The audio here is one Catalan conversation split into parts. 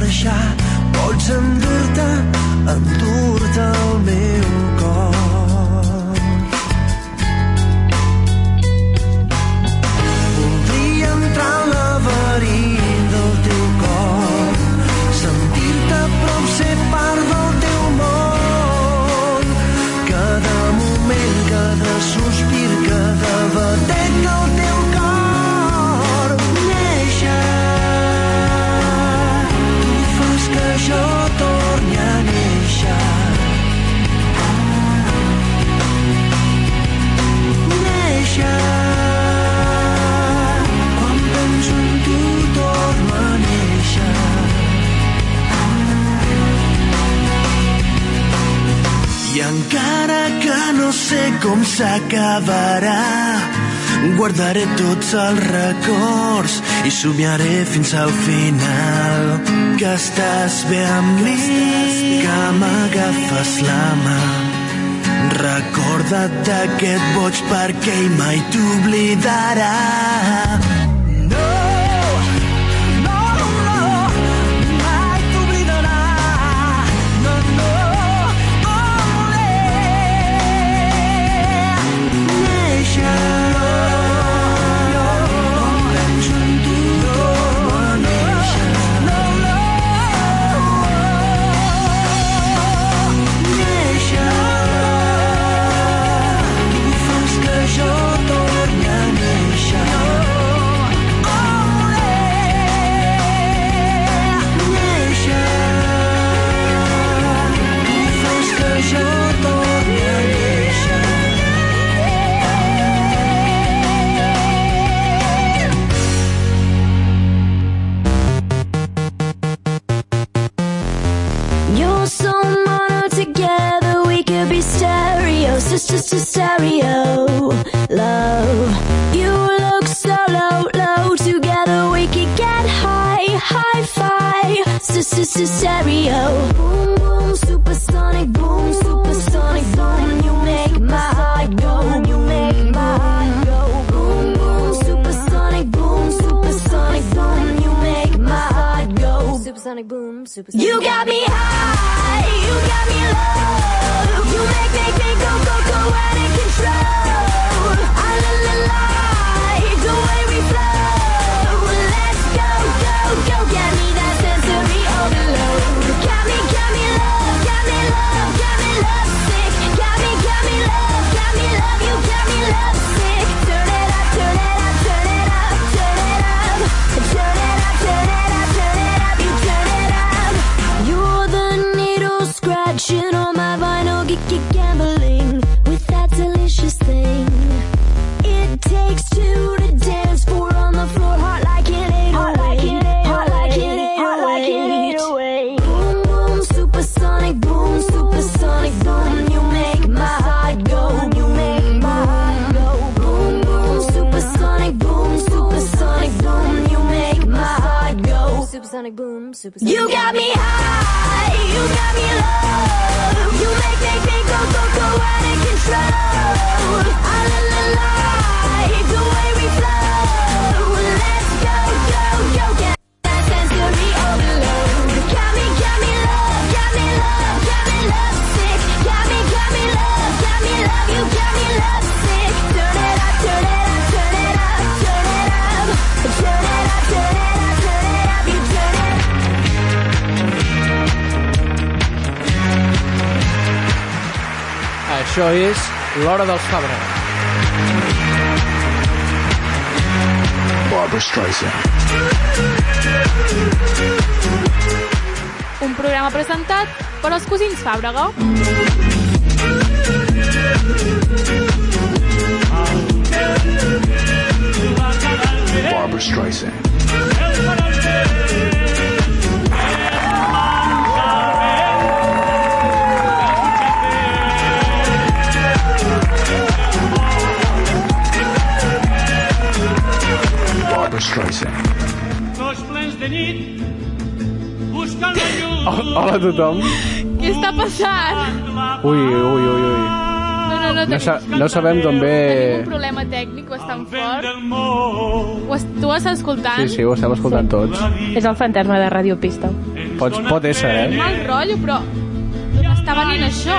deixar. Pots endur-te, endur-te el meu cor. Voldria entrar al laberint del teu cor, sentir-te prou ser part del teu món. Cada moment, cada sospir, cada batec del teu cor néixer. Tu fas que jo torni a néixer. néixer. Quan penso en tu, torno a néixer. I encara que no sé com s'acabarà, guardaré tots els records i somiaré fins al final que estàs bé amb mi, que m'agafes la mà. Recorda't d'aquest boig perquè ell mai t'oblidarà. No, no, no, mai t'oblidarà. No, no, olé. Néixer, no, no, penso en tu, torno a néixer. No, no, You're so mono together, we could be stereo, sisters to stereo. Love, you look so low, low. Together we could get high, high fi, sisters to stereo. Boom, boom, supersonic, boom, supersonic, boom. You make my heart go, you make my heart go. Boom, boom, supersonic, boom, supersonic, boom. You make my heart go. Supersonic boom, supersonic. You got me high, you got me low. You make, make, make, go, go, go out of control. I la la la, the way we flow. Let's go, go, go. Get me that sensory overload. Got me, got me love, got me love, got me love sick. Got me, got me love, got me love. You got me love sick. Turn it up, turn it up, turn it up, turn it up, turn it up, turn it up, turn it up. You turn it up. You're the needle scratching on my vinyl, g- g- gambling with that delicious thing. It takes two to dance, four on the floor, hot like it ain't hot like it ain't hot like it ain't hot like it ain't away. Boom boom, supersonic, boom, supersonic, boom. You make my heart go, you make my heart go. Boom boom, supersonic, boom, supersonic, boom. You make my heart go. Supersonic boom, supersonic. You got me high, you got me low. You make, make, make, go, go, go out of control. I la la la, the way we flow. Let's go, go, go, get that sensory overload. Got me, got me love, got me love, got me love sick. Got me, got me love, got me love, you got me love sick. Turn it up, turn it up, turn it up, turn it up, turn it up, turn it up, turn it up, you turn it up. Això és l'hora dels Fabra. Barbara Streisand. Un programa presentat per els cosins Fàbrega. Barbara Streisand. Barbara Streisand. Dos plens de nit, buscant la llum. Hola a tothom. Què està passant? Ui, ui, ui, ui. No, no, no, No, tenim, sa eh, no sabem d'on tenim un ve... problema tècnic bastant Vent fort. del món, Ho es, tu ho estàs escoltant? Sí, sí, ho estem escoltant tots. És el fantasma de Radio Pista. Pot, pot ésser, eh? Mal rotllo, però... D'on està venint això?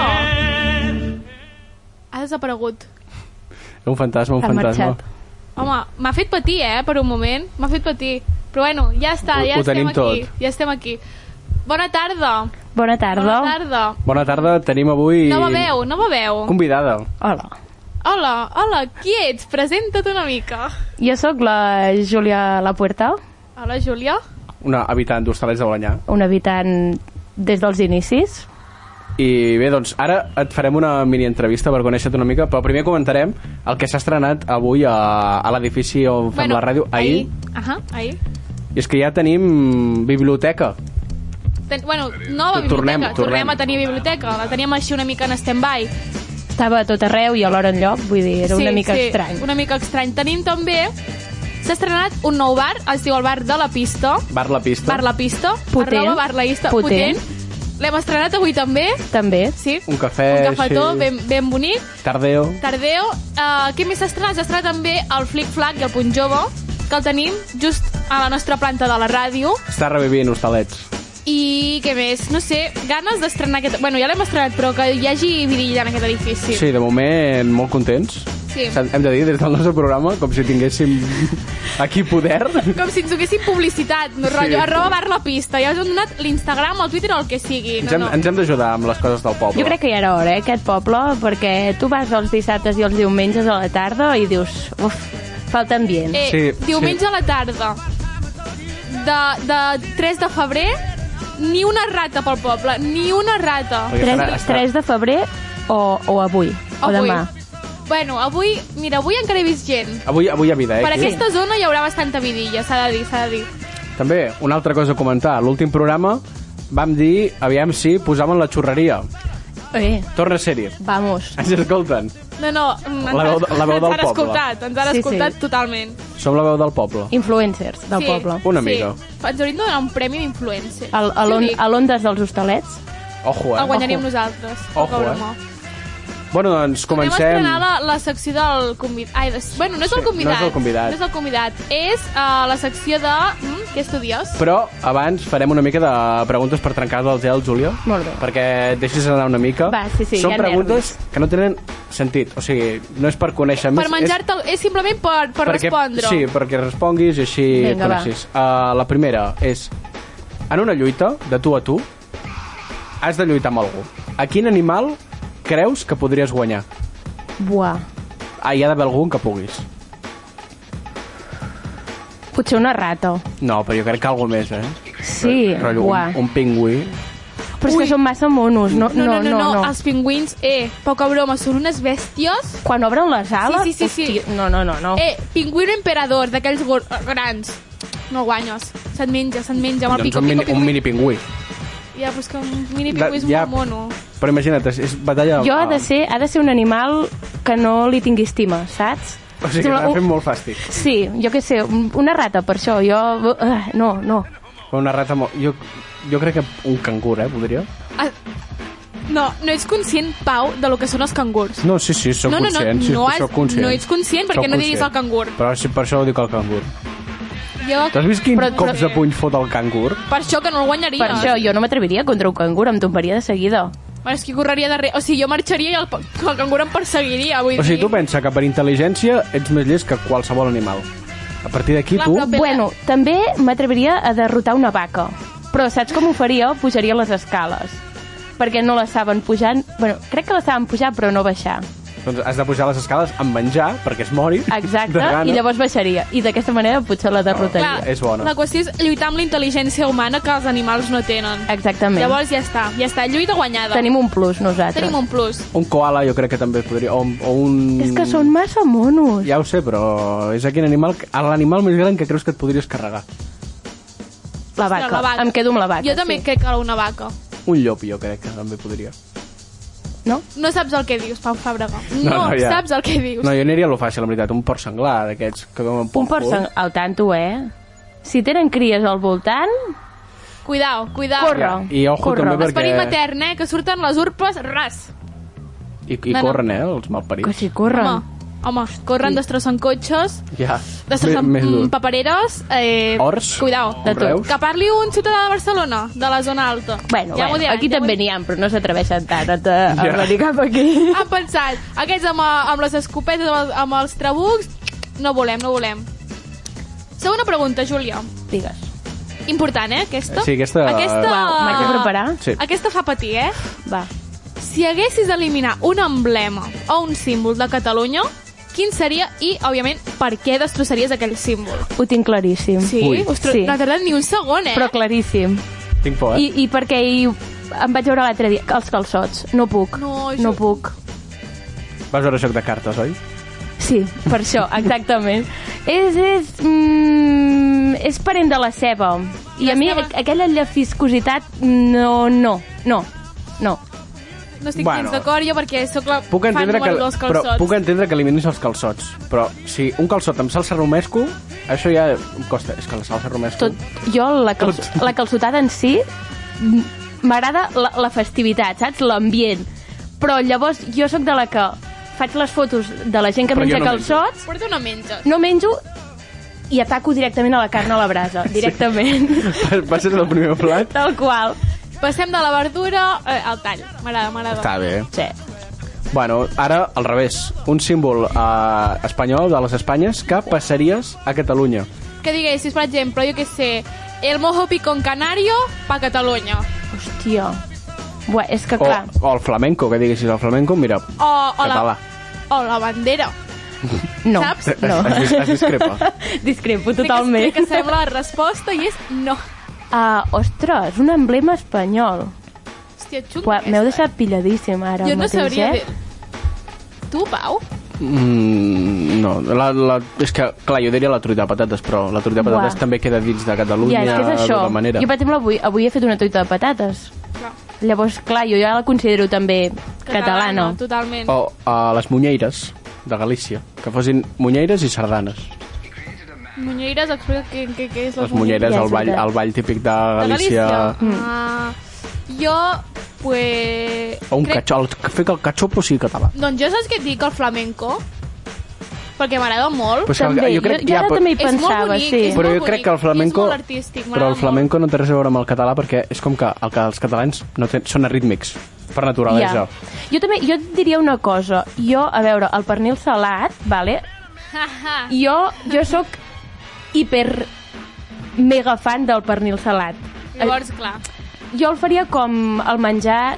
Ha desaparegut. Un fantasma, un Ha fantasma. marxat. Home, m'ha fet patir, eh, per un moment. M'ha fet patir. Però bueno, ja està, Ho- ja ho estem tenim aquí. tot. Ja estem aquí. Bona tarda. Bona tarda. Bona tarda. Bona tarda, tenim avui... Nova veu, nova veu. Convidada. Hola. Hola, hola, qui ets? Presenta't una mica. Jo sóc la Júlia Lapuerta, Hola, Júlia. Una habitant d'Hostalets de Balanyà. una habitant des dels inicis. I bé, doncs, ara et farem una mini entrevista per conèixer-te una mica, però primer comentarem el que s'ha estrenat avui a, a l'edifici on fem la ràdio, ahir, Ahà, ahir. i és que ja tenim biblioteca. Ten, bueno, nova biblioteca. Tornem, tornem. tornem. a tenir biblioteca. La teníem així una mica en stand-by. Estava a tot arreu i a l'hora en lloc, vull dir, era una mica estrany. Una mica estrany. Tenim també... S'ha estrenat un nou bar, es diu el bar de la pista. Bar La Pista. Bar la pista. Potent. Arroba bar la pista. Potent. Potent. L'hem estrenat avui també. També. Sí. Un cafè, Un cafetó sí. ben, ben bonic. Tardeo. Tardeo. Uh, què més s'ha estrenat? S'ha estrenat també el Flick Flac i el Punt Jove, que el tenim just a la nostra planta de la ràdio. Està revivint Hostalets. I què més? No sé, ganes d'estrenar aquest... Bueno, ja l'hem estrenat, però que hi hagi vidilla en aquest edifici. Sí, de moment molt contents. Sí. Hem de dir, des del nostre programa, com si tinguéssim aquí poder. Com si ens donessin publicitat, no, rotllo, arroba bar la pista. Ja us han donat l'Instagram, el Twitter o el que sigui. Ens No, hem, no. ens hem d'ajudar amb les coses del poble. Jo crec que ja era hora, eh, aquest poble, perquè tu vas els dissabtes i els diumenges a la tarda i dius, uf, falta ambient. Eh, sí, diumenge sí. a la tarda de, de 3 de febrer, ni una rata pel poble, ni una rata. Perquè estarà- 3, estarà- 3 de febrer o, o avui, o Avui. demà. Bueno, avui, mira, avui encara he vist gent. Avui, avui hi ha vida, eh? Per aquí. aquesta zona hi haurà bastanta vidilla, s'ha de dir, s'ha de dir. També, una altra cosa a comentar. L'últim programa vam dir, aviam si posaven la xurreria. Eh, Torna a ser-hi. vamos. Ens escolten. No, no, ens La veu- han- la veu ens del han poble. escoltat, ens han Sí, sí. escoltat totalment. Som la veu del poble. Influencers del poble. Una mica. Sí. Ens hauríem de donar un premi d'influencer. Al, a Sí, ho l'on- dic. a l'ondes dels hostalets. Ojo, El eh? guanyaríem Ojo. nosaltres. Ojo, Poca eh? broma. Bueno, doncs Comencem. comencem. Anem a estrenar la, la secció del convidat. Ai, des... bueno, no és el Sí, convidat. no és el convidat. No és el convidat. És uh, la secció de... Mm, què estudies? Però abans farem una mica de preguntes per trencar el gel, Júlia. Molt bé. Perquè et deixis anar una mica. Va, sí, sí, Són hi ha preguntes que no tenen sentit. O sigui, no és per conèixer més. Per menjar-te... És... és simplement per, per perquè, respondre. Sí, perquè responguis i així Vinga, va. coneixis. Uh, la primera és... En una lluita, de tu a tu, has de lluitar amb algú. A quin animal creus que podries guanyar? Buah. Ah, hi ha d'haver algun que puguis. Potser una rata. No, però jo crec que algú més, eh? Sí, Rotllo, buah. un, un pingüí. Però és que són massa monos. No, No, no, no, no, no, no. Els pingüins, eh, poca broma, són unes bèsties. Quan obren les ales... Sí, sí, sí, sí. hosti, No, no, no, no. Eh, pingüino emperador, d'aquells gor- grans. No guanyes. Se't menja, se't menja amb doncs el pico, un mini, pico, pico. un mini pingüí. Ja, però és que un mini De- pingüí és ja- molt mono. Però imagina't, és, és batalla... Jo ha ah, de, ser, ha de ser un animal que no li tingui estima, saps? O sigui, Sembla m'ha un- fet molt fàstic. Sí, jo què sé, un- una rata, per això. Jo... Uh, no, no. Una rata molt... Jo, jo crec que un cangur, eh, podria? Ah, No, no ets conscient, Pau, de lo que són els cangurs. No, sí, sí, sóc No, no, no, conscient. sí, no has- sóc conscient. no ets conscient perquè Sóc no diries conscient. el cangur. Però sí, per això ho dic el cangur. Jo... T'has vist quins però- cops però- de puny fot el cangur? Per això que no el guanyaries. Per això jo no m'atreviria contra un cangur, em tombaria de seguida. Bueno, és que correria darrere. O sigui, jo marxaria i el, pa- el cangur em perseguiria. Vull O sigui, tu dir. pensa que per intel·ligència ets més llest que qualsevol animal. A partir d'aquí, Clar, tu... però- Pela. Bueno, també m'atreviria a derrotar una vaca. Però saps com ho faria? Pujaria les escales. Perquè no la saben pujar... Bueno, crec que la saben pujar, però no baixar. Doncs has de pujar les escales amb menjar, perquè es mori. Exacte, de gana. i llavors baixaria. I d'aquesta manera potser la derrotaria. és bona. La qüestió és lluitar amb la intel·ligència humana que els animals no tenen. Exactament. Llavors ja està, ja està, lluita guanyada. Tenim un plus, nosaltres. Tenim un plus. Un koala jo crec que també podria... O, un- o un... Mm. És que són massa monos. Ja ho sé, però és aquell animal... que- L'animal més gran que creus que et podries carregar. La vaca. Però Em quedo amb la vaca. Jo també sí. crec que una vaca. Un llop jo crec que també podria. No? No saps el que dius, Pau Fàbrega. No, saps el que dius. No, jo aniria a lo fàcil, la veritat. Un porc senglar d'aquests que veuen Un porc sang... al tanto, eh? Si tenen cries al voltant... Cuidao, cuidao. Corre. I ojo Corre. també perquè... Esperit matern, eh? Que surten les urpes, ras. I, i No, no. corren, eh, els malparits. Que si corren. Home, Home, corren, destrossen cotxes, Ja. destrossen Més- més dur. mm, papereres... Eh, Horts? Cuidao, de tot. Reus? Que parli un ciutadà de Barcelona, de la zona alta. Bueno, ja m'ho bueno diran, aquí ja m'ho també n'hi ha, però no s'atreveixen tant a, a, a Ja. venir cap aquí. han pensat, aquests amb, eh, amb les escopetes, amb, els- amb els trabucs, no volem, no volem. Segona pregunta, Júlia. Digues. Important, eh, aquesta? Sí, aquesta- aquesta... Uau, m'haig de preparar? Sí. Aquesta fa patir, eh? Va. Si haguessis d'eliminar un emblema o un símbol de Catalunya, quin seria i, òbviament, per què destrossaries aquell símbol? Ho tinc claríssim. Sí? Ui. Ostres, Sí. no ha tardat ni un segon, eh? Però claríssim. Tinc por, eh? I, I perquè hi, em vaig veure l'altre dia, els calçots. No puc. No, jo- no puc. Vas veure joc de cartes, oi? Sí, per això, exactament. és, és, mm, és parent de la ceba. I La a mi ceba. aqu- aquella llefiscositat, no, no, no, no. No estic Bueno. bueno. gens d'acord jo perquè sóc la Puc fan entendre, que, número dos però calçots. puc entendre que eliminis els calçots, però si un calçot amb salsa romesco, això ja em costa. És que la salsa romesco... Tot, jo, la, calç, Tot. la calçotada en si, m- m'agrada la, la festivitat, saps? L'ambient. Però llavors jo sóc de la que faig les fotos de la gent que Però jo menja no menjo. calçots Però tu no menges. no menjo i ataco directament a la carn a la brasa, directament. Sí. Pa- Passes del primer plat... Tal qual. Passem de la verdura eh, al tall. M'agrada, m'agrada. Està bé. Sí. Bueno, ara al revés. Un símbol eh, espanyol de les Espanyes que passaries a Catalunya. que diguessis, per exemple, jo que sé, el mojo picón canario pa Catalunya. Hòstia. Buà, és que O, Ah, clar... o el flamenco, que diguessis el flamenco, mira, O, o, Català. la, o la bandera. No. saps? No. Eh, Es- es- es discrepa. Discrepo Crec que- totalment. Crec que sabem la resposta i és no. Ah, ostres, un emblema espanyol. Hòstia, xunga. Buà, M'heu aquesta. deixat pilladíssim ara Jo no mateix, sabria... eh? dir- Tu, Pau? Mm, no, la, la, és que, clar, jo diria la truita de patates, però la truita de Buah. patates també queda dins de Catalunya Ja, és que és això. d'alguna manera. Jo, per exemple, avui, avui he fet una truita de patates. Llavors, clar, jo ja la considero també catalana. Totalment. O a les munyeires de Galícia, que fossin munyeires i sardanes. Muñeires, explica què, què, què és Les munyeires, ja el és ball, veritat. el ball típic de de Galícia. Mm. Galícia. Ah, jo, pues... O un crec- cachop, el- fer que el cachopo sigui català. Doncs jo saps què et dic, el flamenco? Perquè m'agrada molt. Però és que També, jo crec- jo, jo ja, ara però- també hi És molt pensava, bonic, sí. és Però molt jo crec bonic que el flamenco... i és molt artístic, però el m'agrada flamenco no té res a veure amb el català perquè és com que el que els catalans no ten, són arrítmics, per naturalesa. Jo també, jo et diria una cosa. Jo, a veure, el pernil salat, vale? Jo, jo sóc hiper mega fan del pernil salat. Llavors, clar, Jo el faria com el menjar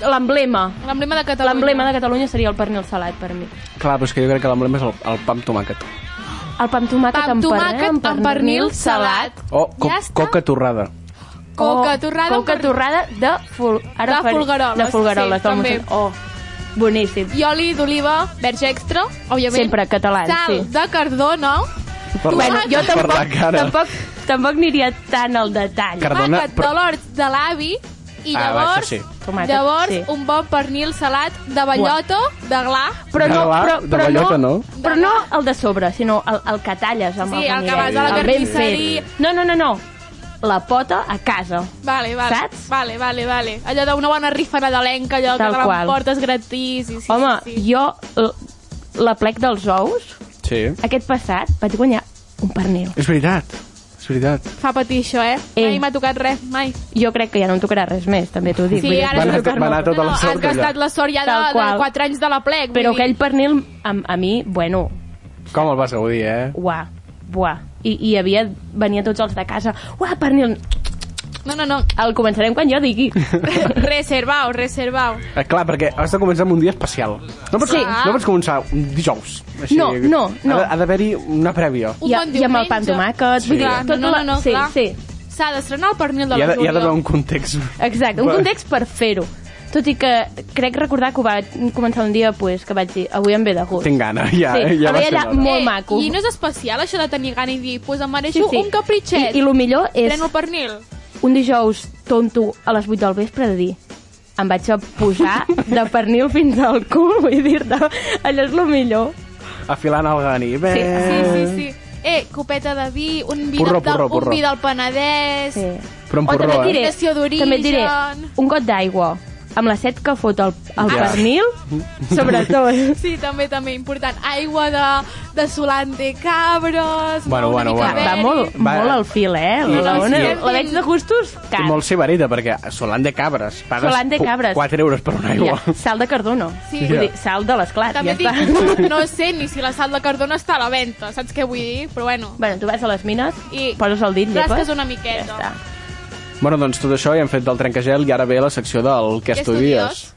l'emblema. l'emblema de Catalunya. L'emblema de Catalunya seria el pernil salat per mi. Clar, però és que jo crec que l'emblema és el, el pa amb tomàquet. El pa amb tomàquet, Pam, amb, tomàquet, pernil, amb pernil salat. O co ja està. Oh, coca torrada. Coca torrada. amb coca pernil. torrada de, fol... Ara De faré- folgueroles, De folgueroles, sí, del també. Montseny. Oh, boníssim. I oli d'oliva, verge extra, òbviament. Sempre catalans, Sal sí. de cardona. Per la- Bueno, jo per la tampoc, cara. tampoc, tampoc aniria tan al detall. Car- Cardona, Tomàquet però- de l'hort de l'avi. I Ah, va, això llavors, sí. Tomàquet, llavors sí. un bon pernil salat de bellota, de gla. Però no, Català, però, de però bellota, no? Però no el de sobre, sinó el, el que talles amb Sí, el el que ganivet, vas a la el ben carnisseria. fet. No, no, no, no. La pota a casa. Vale, vale. Saps? Vale, vale, vale. Allò d'una bona rifa nadalenca, allò Tal que te qual. l'emportes gratis. I sí, Home, sí, sí. jo l- la plec dels ous, Sí. aquest passat, vaig guanyar un pernil. És veritat, és veritat. Fa patir això, eh? Eh. Mai m'ha tocat res, mai. Jo crec que ja no em tocarà res més, també t'ho dic. Sí, vull dir, ara Va anar- sí que va anar no. tota no, la no, sort has gastat allà. la sort ja de, Tal de qual. 4 anys de la plec. vull Però dir. aquell pernil, a, a mi, bueno, Com el vas gaudir, eh? uà, uà. I, i havia, venia tots els de casa, uà, pernil, No, no, no. el començarem quan jo digui. reservau, reservau. Eh, clar, perquè has de començar amb un dia especial. No pots, Sí. no pots començar un dijous. No, no, no. Ha de- Ha d'haver-hi una prèvia. Un I, a- bon I amb el pa amb diumenge. tomàquet. vull dir, Clar, tot no, no, la- no, sí, clar. sí. S'ha d'estrenar el pernil de Hi la Eh, ha, de- hi ha d'haver Júlia. un context. Exacte, un Va. context per fer-ho. Tot i que crec recordar que ho vaig començar un dia pues, que vaig dir, avui em ve de gust. Tinc gana, ja. Sí, eh? ja a va veure, ser allà, hora. molt maco. I no és especial, això de tenir gana i dir, pues em mereixo un capritxet. I, i el millor és Preno el pernil. un dijous tonto a les 8 del vespre de dir em vaig a posar de pernil fins al cul, vull dir-te, allò és el millor. Afilant el gani. Bé. Sí, Sí, sí, sí. Eh, copeta de vi, un vi, Porró, del, porró, porró. un vi del Penedès. Sí. Però amb O també porró, et eh? diré, Nació d'origen. també et diré, un got d'aigua. amb la set que fot el, el Ja. pernil, sobretot. Sí, també, també, important. Aigua de, de Solante Cabros... Bueno, una bueno, mica bueno. Va d'Ibèric. molt, Va. molt al fil, eh? Sí, La, sí, ona, sí. la veig de gustos, I car. molt sibarita, perquè Solan de Cabres. Pagues Solán de Cabres. 4 euros per una aigua. Ja, sal de Cardono. Sí. Vull dir, Ja. sal de l'esclat, També ja ja està. dic, no sé ni si la sal de Cardona està a la venda, saps què vull dir? Però bueno, Bueno, tu vas a les mines, I poses el dit, llepes... rasques una miqueta. Ja està. Bueno, doncs tot això ja hem fet del trencagel i ara ve la secció del que Què estudies.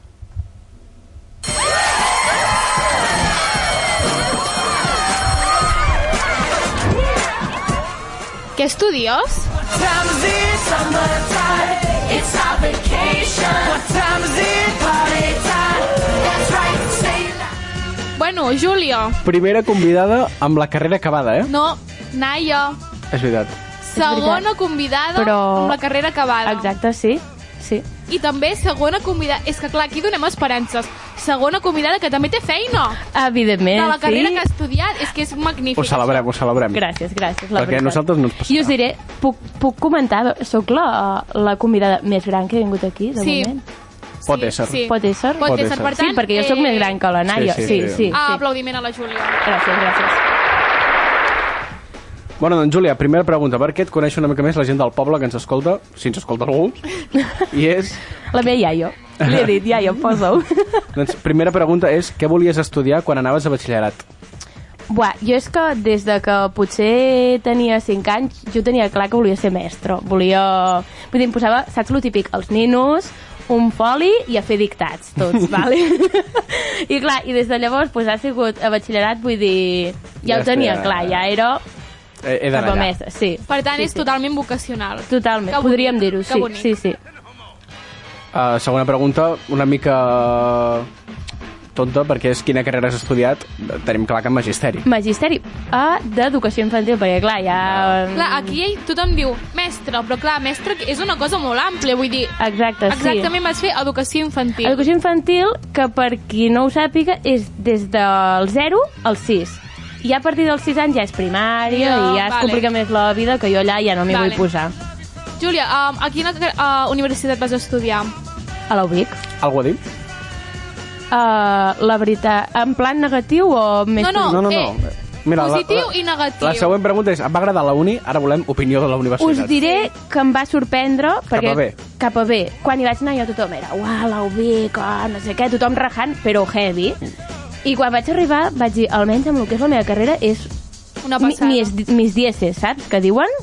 què estudies? Bueno, Júlia, Primera convidada amb la carrera acabada, eh? no, Naya, És veritat. segona convidada Però- amb la carrera acabada. Exacte, sí. Sí. I també segona convidada... És que clar, aquí donem esperances. Segona convidada que també té feina. Evidentment, De la carrera Eh, sí. que ha estudiat. És que és magnífic. Ho celebrem, ho celebrem. Gràcies, gràcies. La Perquè a veritat. nosaltres no ens passarà. I us diré, puc, puc comentar, sóc la, la convidada més gran que he vingut aquí, de Sí. moment. Pot ésser. Pot ésser? Pot, Pot ésser, ésser. per tant... sí, perquè jo sóc eh, més gran que la Naia. sí, Sí, sí, sí. sí. sí, Ah, aplaudiment a la Júlia. Gràcies, gràcies. Bueno, doncs, Júlia, primera pregunta. Per què et coneix una mica més la gent del poble que ens escolta, si ens escolta algú? I és... La meva iaio. Li he dit, iaio, posa-ho. Doncs, primera pregunta és què volies estudiar quan anaves a batxillerat? Buah, jo és que des de que potser tenia 5 anys, jo tenia clar que volia ser mestre. Volia... Vull dir, em posava, saps lo típic, els ninos, un foli i a fer dictats, tots, vale? I clar, i des de llavors pues, ha sigut a batxillerat, vull dir... Ja, Ja ho tenia està. clar, ja era Eh, he cap d'anar a allà. mestre, sí. Per tant, sí, és totalment vocacional. Sí. Totalment, Que bonic, podríem dir-ho, que sí, bonic. sí, sí. Uh, segona pregunta, una mica tonta, perquè és quina carrera has estudiat. Tenim clar que en Magisteri. Magisteri ah, d'educació infantil, perquè clar, ja... Clar, aquí ell- tothom diu mestre, però clar, mestre és una cosa molt àmplia, vull dir... Exacte, Eh, sí. Exactament vas fer educació infantil. Educació infantil, que per qui no ho sàpiga, és des del 0 al 6. I a partir dels 6 anys ja és primària Jo, i ja es vale. complica més la vida, que jo allà ja no m'hi Vale. vull posar. Júlia, um, a quina uh, universitat vas estudiar? A la UBIC? Algú a dir? Uh, la veritat, en plan negatiu o més... No, no. No, no, no. Eh, positiu i negatiu. La següent pregunta és, em va agradar la uni, ara volem opinió de la universitat. Us diré que em va sorprendre perquè... a bé. Cap a bé. Quan hi vaig anar jo tothom era uah, la UBIC, oh, no sé què, tothom rajant, però heavy. I quan vaig arribar vaig dir, almenys amb el que és la meva carrera és Una mi- passada. mis, mis dieces, saps? Que diuen?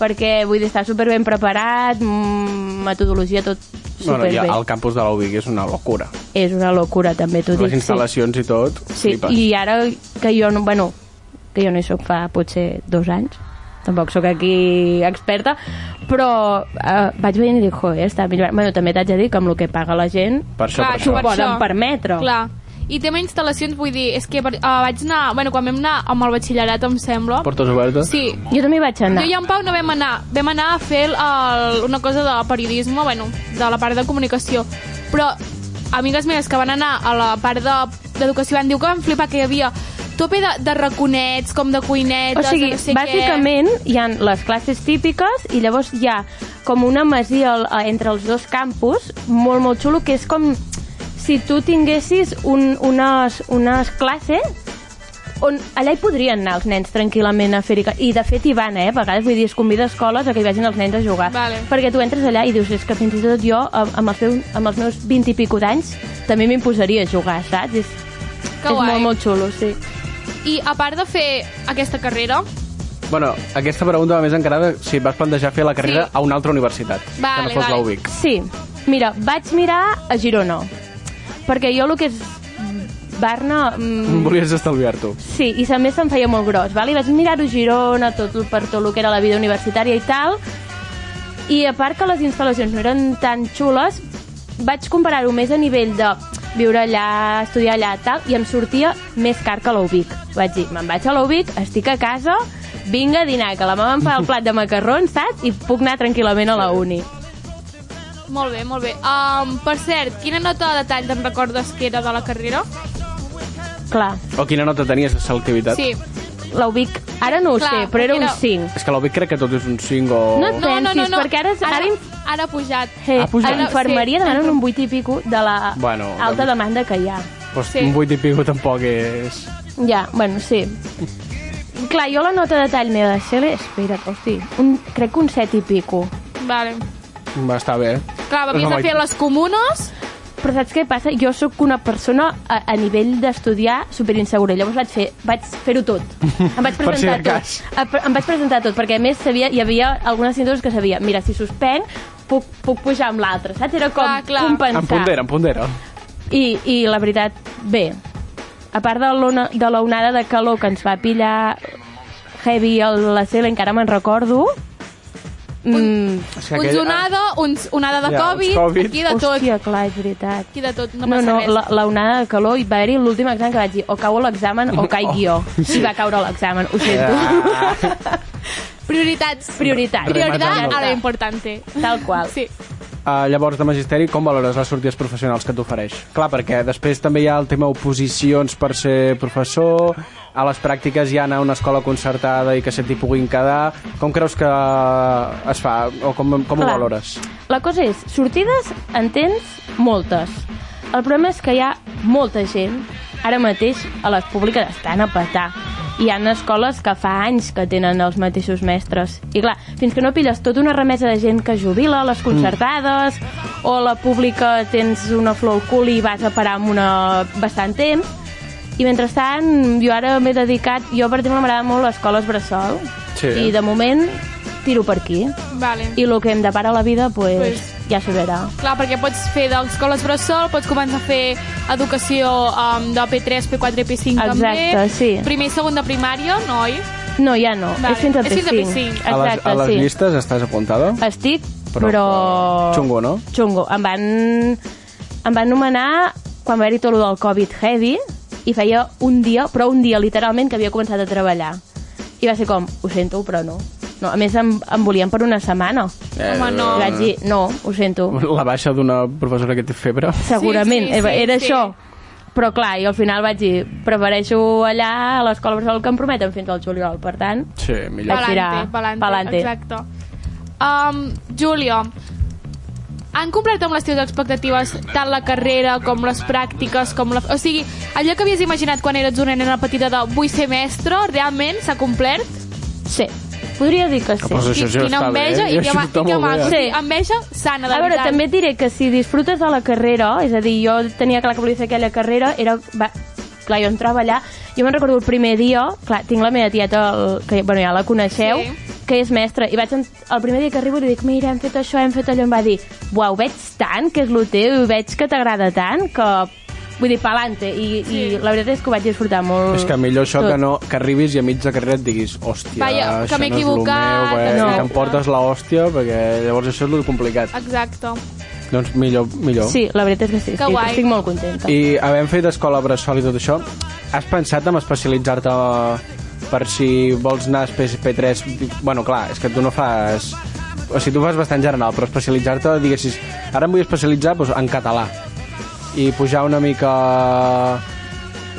Perquè vull dir, estar superben preparat, mm, metodologia tot Bueno, superbé. ja, el campus de la UBIC és una locura. És una locura, també t'ho dic. Les instal·lacions i tot, Sí, sí. flipes. i ara que jo no, bueno, que jo no hi soc fa potser dos anys, tampoc sóc aquí experta, però eh, vaig veient i dic, joder, està millorant. Bueno, també t'haig de dir que amb el que paga la gent Per això, Clar, per s'ho això. per Ah, poden Ah, això. permetre. Clar. I tema instal·lacions, vull dir, és que per, uh, vaig anar... Bueno, quan vam anar amb el batxillerat, em sembla... Portes obertes? Sí, Jo també hi vaig anar. Jo i en Pau no vam anar. Vam anar a fer el, el, una cosa de periodisme, bueno, de la part de comunicació. Però amigues meves que van anar a la part de- d'educació van dir "Oh, que van flipar que hi havia tope de, de raconets, com de O cuinetes, sigui, de no sé bàsicament hi ha les classes típiques i llavors hi ha com una masia al- a- entre els dos campus, molt, molt xulo, que és com si tu tinguessis un, unes, unes classes on allà hi podrien anar els nens tranquil·lament a fer-hi... ca- I de fet hi van, eh? A vegades, vull dir, es convida a escoles a que hi vagin els nens a jugar. Vale. Perquè tu entres allà i dius, és que fins i tot jo, amb amb els, meus, amb els meus 20 i pico d'anys, també m'imposaria a jugar, saps? És, què. Que és guai. molt, molt xulo, sí. I a part de fer aquesta carrera, Bueno, aquesta pregunta va més encarada si et vas plantejar fer la carrera Sí. a una altra universitat, que Vale, no fos vale. la UBIC. Sí, mira, vaig mirar a Girona, perquè jo el que és Barna... Mm, Volies estalviar-t'ho. sí, i a més se'm feia molt gros, val? i vaig mirar-ho a Girona, tot el- per tot el que era la vida universitària i tal, i a part que les instal·lacions no eren tan xules, vaig comparar-ho més a nivell de viure allà, estudiar allà, tal, i em sortia més car que a la UBIC. Vaig dir, me'n vaig a la UBIC, estic a casa, vinga a dinar, que la mama em fa el plat de macarrons, saps? I puc anar tranquil·lament a la uni. molt bé, molt bé. Um, per cert, quina nota de detall te'n recordes que era de la carrera? Clar, O quina nota tenies de selectivitat? Sí, l'Ubic, ara no ho Clar, sé, però era un era- 5. És que l'Obic crec que tot és un 5 o... No et pensis, perquè ara, és- ara, ara, inf- ara ha pujat. eh, Ha pujat. a infermeria sí. demanen un 8 i pico de la Bueno, alta doncs- demanda que hi ha. Pues sí. un 8 i pico tampoc és... Ja, bueno, sí. Clar, jo la nota de tall meva de Cele, espera't, hosti, un, crec que un 7 i pico. Vale. Va estar bé. Clar, Però havies no de vaig- fer les comunes. Però saps què passa? Jo sóc una persona a, a nivell d'estudiar superinsegura. Llavors vaig fer vaig fer-ho tot. Em vaig Per si presentar de tot. cas. A, em vaig presentar tot, perquè a més sabia, hi havia algunes cintures que sabia, mira, si suspenc, puc, puc pujar amb l'altre, saps? Era com Clar, clar. compensar. Em pondera, em pondera. I, I la veritat, bé, a part de, l'ona- de la onada de calor que ens va pillar heavy a la cel, encara me'n recordo, mm, És Uns onada, uns onada de Ja, uns Covid, Covid. aquí de tot. hòstia, clar, és veritat. Aquí de tot, no No, passa no, res. la, la onada de calor, i va haver-hi l'últim examen que vaig dir o cau a l'examen o caig Oh, jo. sí. I va caure a l'examen, ho Eh, sento. Prioritats. Prioritat. Prioridad a lo Ja està. importante. Tal qual. Sí. Uh, llavors, de magisteri, com valores les sortides professionals que t'ofereix? Clar, perquè després també hi ha el tema oposicions per ser professor, a les pràctiques hi ha anar a una escola concertada i que se t'hi puguin quedar. Com creus que es fa? O com, com ho Clar. valores? La cosa és, sortides en tens moltes. El problema és que hi ha molta gent, ara mateix a les públiques estan a petar. Hi han escoles que fa anys que tenen els mateixos mestres. I clar, fins que no pilles tota una remesa de gent que jubila, les concertades, Mm. o la pública tens una flor al cul i vas a parar amb una bastant temps, i mentrestant, jo ara m'he dedicat... Jo, per exemple, m'agrada molt les escoles bressol. Sí. I de moment tiro per aquí Vale. i el que em depara la vida pues, Pues- pues... ja s'ho verà. Clar, perquè pots fer d'escoles bressol, pots començar a fer educació um, de P3, P4 i P5 també. Exacte, sí. Primer i segon de primària, no, oi? No, ja no, Vale, vale. és fins a és fins a P5. P5. a Exacte, les, a les sí. llistes estàs apuntada? Estic, Però- però... però... Xungo, no? Xungo. Em van, em van nomenar quan va haver-hi tot el del Covid heavy i feia un dia, però un dia literalment, que havia començat a treballar. I va ser com, ho sento, però no. no a més, em, em volien per una setmana. Home, no. I vaig dir, no, ho sento. La baixa d'una professora que té febre? segurament, Sí, sí, sí, sí, sí, era sí. sí. això. Però clar, i al final vaig dir, prefereixo allà a l'escola Bressol que em prometen fins al juliol, per tant... Sí, millor. Vaig Palante, tirar. palante, Palante. exacte. Um, Júlia, han complert amb les teves expectatives tant la carrera com les pràctiques, com la... O sigui, allò que havies imaginat quan eres una nena petita de vull ser mestre, realment s'ha complert? Sí, podria dir que sí. Pues això sí Quina està enveja bé, i eh? que, Això ma- està i molt que bé. mal. Sí. Sí. Enveja sana, de A veure, veritat. també et diré que si disfrutes de la carrera, és a dir, jo tenia clar que volia fer aquella carrera, era... Va, clar, jo entrava allà, jo me'n recordo el primer dia, clar, tinc la meva tieta, el, que bueno, ja la coneixeu, Sí. sí. que és mestra, i vaig en- el primer dia que arribo li dic, mira, hem fet això, hem fet allò, em va dir, uau, veig tant que és lo teu, i veig que t'agrada tant, que... Vull dir, pa'lante, i, sí. i la veritat és que ho vaig disfrutar molt. És que millor això tot. que, no, que arribis i a mig de carrera et diguis hòstia, Vaja, que això m'he no és el meu, equivocat, eh? no. I t'emportes la hòstia, perquè llavors això és el complicat. Exacte. Doncs millor, millor. Sí, la veritat és que sí, Que estic, guai. estic molt contenta. I havent fet escola bressol i tot això, has pensat en especialitzar-te per si vols anar a P- P3? Bueno, clar, és que tu no fas... O sigui, tu fas bastant general, però especialitzar-te, diguessis, ara em vull especialitzar doncs, en català i pujar una mica...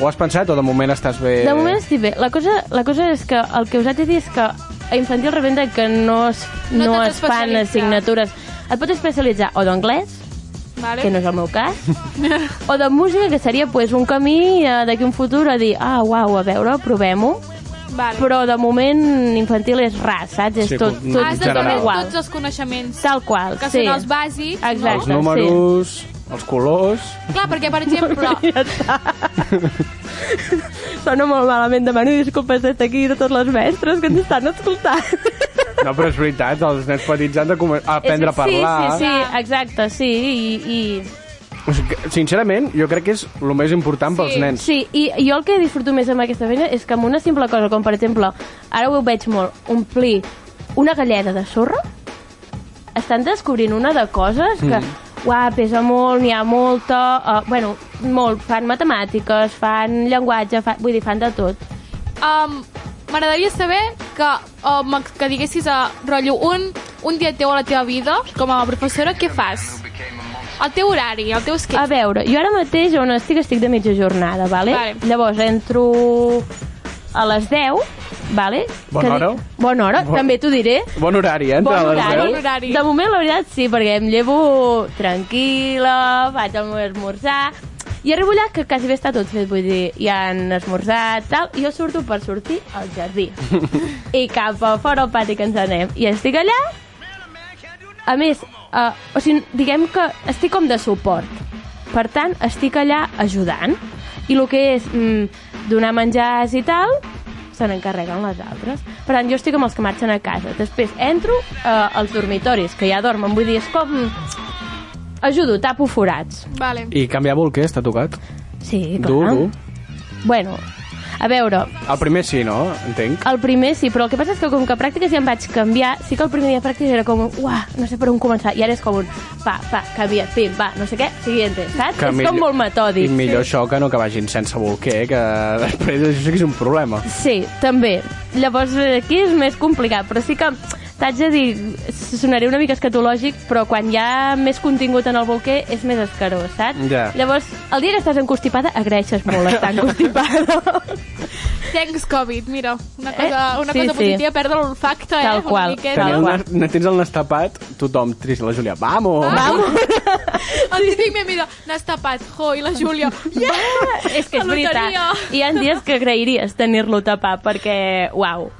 Ho has pensat o de moment estàs bé? De moment estic bé. La cosa, la cosa és que el que us haig de dir és que a infantil rebenta que no es, No no t'has es fan especialitzat. assignatures. Et pots especialitzar o d'anglès, Vale? que no és el meu cas, o de música, que seria pues, un camí eh, d'aquí un futur a dir, ah, uau, a veure, provem-ho. Vale. Però de moment infantil és ras, saps? És Sí, tot, com- tot, Has de general. saber tot igual. tots els coneixements Tal qual, que sí. són els bàsics, Exacte. Els números, els colors... no? Clar, perquè, per exemple, Sona molt malament, demano disculpes des d'aquí de totes les mestres que ens estan escoltant. No, però és veritat, els nens petits han de comen- a aprendre a parlar. Sí, sí, sí, exacte, sí. I, O sigui, que, sincerament, jo crec que és el més important pels Sí. i, nens. sí, i jo el que disfruto més amb aquesta feina és que amb una simple cosa, com per exemple, ara ho veig molt, omplir una galleda de sorra, estan descobrint una de coses que, mm. uà, pesa molt, n'hi ha molta, uh, bueno, molt, fan matemàtiques, fan llenguatge, fan, vull dir, fan de tot. um, m'agradaria saber que, um, que diguessis a rotllo un, un dia teu a la teva vida, com a professora, què fas? El teu horari, el teu A esquema. veure, jo ara mateix on estic, estic de mitja jornada, vale? Vale. Llavors entro a les 10, vale? Bona Que di- hora. Bona hora, Bon- també t'ho diré. Bon horari, eh? Entre Bon les horari. deu. Bon horari. De moment, la veritat, sí, perquè em llevo tranquil·la, vaig al meu esmorzar... I arribo allà que quasi bé està tot fet, vull dir, hi han esmorzat, tal, i jo surto per sortir al jardí. I cap a fora al pati que ens anem. I estic allà... A més, uh, o sigui, diguem que estic com de suport. Per tant, estic allà ajudant. I el que és mm, donar menjars i tal, se n'encarreguen les altres. Per tant, jo estic amb els que marxen a casa. Després entro eh, als dormitoris, que ja dormen. Vull dir, és com... Ajudo, tapo forats. Vale. I canviar bolquer, està tocat. Sí, clar. Dur, dur. Bueno, a veure, El primer sí, no? Entenc. el primer sí, però el que passa és que com que a pràctiques ja em vaig canviar, sí que el primer dia de pràctiques era com un, uah, no sé per on començar, i ara és com un, pa, pa, canvia, pim, va, no sé què, siguiente, saps? és millor- com molt metòdic. I millor això que no que vagin sense bolquer, que després això sí que és un problema. Sí, també. Llavors eh, aquí és més complicat, però sí que t'haig de dir, sonaré una mica escatològic, però quan hi ha més contingut en el bolquer és més escarós, saps? Ja. Llavors, el dia que estàs encostipada, agraeixes molt estar encostipada. Thanks, Covid, mira. Una cosa, Eh? una Sí, cosa sí. positiva, perdre l'olfacte, eh? Tal una qual, miqueta. tal Tenia qual. el nas- ne- tens el nas tapat, tothom trist, la Júlia, vamos! Ah. Vamos. El típic meme de n'has tapat, jo, i la Júlia. Yeah! és que és veritat. Peluqueria. Hi ha dies que agrairies tenir-lo tapat, perquè, uau,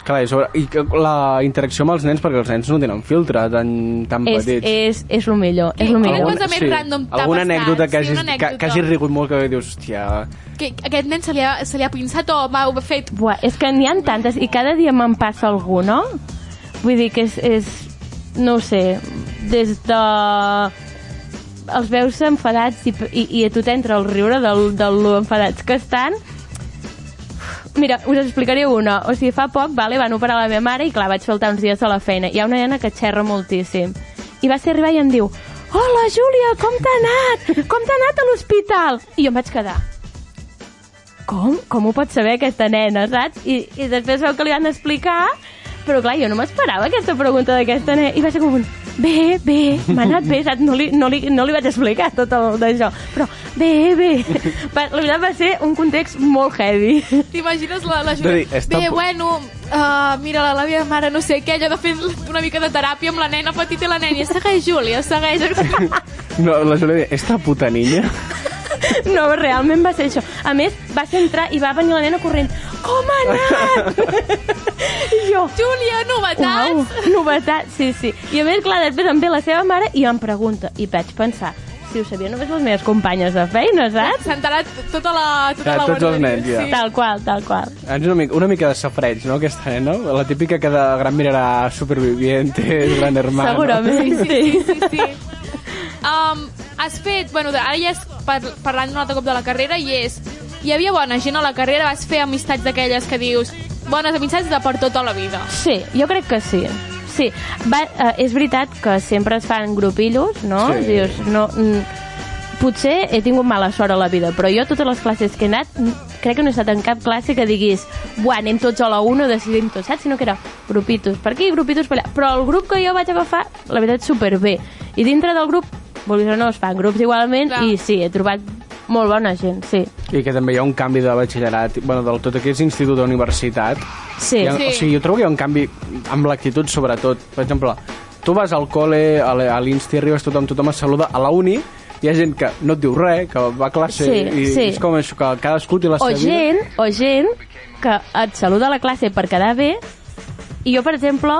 Clar, i, sobre, i que la interacció amb els nens, perquè els nens no tenen filtre tan, tan és, petits. és, és el millor, és el Quina millor. cosa més random t'ha Alguna passat? anècdota que Sí, hagis, una que, anècdota. que hagis rigut molt que dius, hòstia... Que, que aquest nen se li ha, se li ha pinçat o va, ho ha fet... Buah, és que n'hi ha tantes i cada dia me'n passa algú, no? Vull dir que és, és no ho sé, des de... Els veus enfadats i, i, i a tu t'entra el riure del, del lo enfadats que estan. Mira, us explicaré una. O sigui, fa poc, vale, van operar la meva mare i clar, vaig faltar uns dies a la feina. Hi ha una nena que xerra moltíssim. I va ser arribar i em diu Hola, Júlia, com t'ha anat? Com t'ha anat a l'hospital? I jo em vaig quedar com? Com ho pot saber aquesta nena, saps? I, i després veu que li van explicar, però clar, jo no m'esperava aquesta pregunta d'aquesta nena, i va ser com un... Bé, bé, m'ha anat bé, saps? No li, no, li, no li vaig explicar tot el d'això, però bé, bé. Va, la veritat va ser un context molt heavy. T'imagines la, la De dir, Júlia? està Bé, po- bueno, uh, mira, la, la meva mare, no sé què, ella ha de fer una mica de teràpia amb la nena petita i la nena. I segueix, Júlia, segueix. No, la Júlia diu, esta puta niña... No, realment va ser això. A més, va ser entrar i va venir la nena corrent. Com ha anat? I jo, Júlia, novetats! Uau, novetat, sí, sí. I a més, clar, després em ve la seva mare i em pregunta, i vaig pensar, si ho sabien només les meves companyes de feina, saps? S'ha enterat tota la... Tota Ja, la Ah, tots els nens, ja. Sí. Tal qual, tal qual. Ens una mica, una mica de safreig, no, aquesta nena? La típica que de gran mirarà Supervivientes, Gran Hermano... Segurament, sí. sí, sí, sí. Um, has fet... Bueno, ara ja és par parlant un altre cop de la carrera i és... Hi havia bona gent a la carrera, vas fer amistats d'aquelles que dius bones amistats de per tota la vida. Sí, jo crec que sí. Sí, va, eh, és veritat que sempre es fan grupillos, no? Sí. Dius, no mm, potser he tingut mala sort a la vida, però jo totes les classes que he anat, mm, crec que no he estat en cap classe que diguis buah, anem tots a la 1, decidim tots, saps? Sinó que era grupitos per aquí, grupitos per allà. Però el grup que jo vaig agafar, la veritat, superbé. I dintre del grup, vulguis o no, es fan grups igualment, Clar. i sí, he trobat molt bona gent, sí. I que també hi ha un canvi de batxillerat, bueno, del tot aquest institut a universitat. Sí. Hi ha, Sí. O sigui, jo trobo que hi ha un canvi amb l'actitud, sobretot. Per exemple, tu vas al col·le, a la- a l'insti, arribes tothom, tothom es saluda. A la uni hi ha gent que no et diu res, que va a classe, Sí, i sí. és com això, que cadascú té la o seva gent, o gent que et saluda a la classe per quedar bé i jo, per exemple,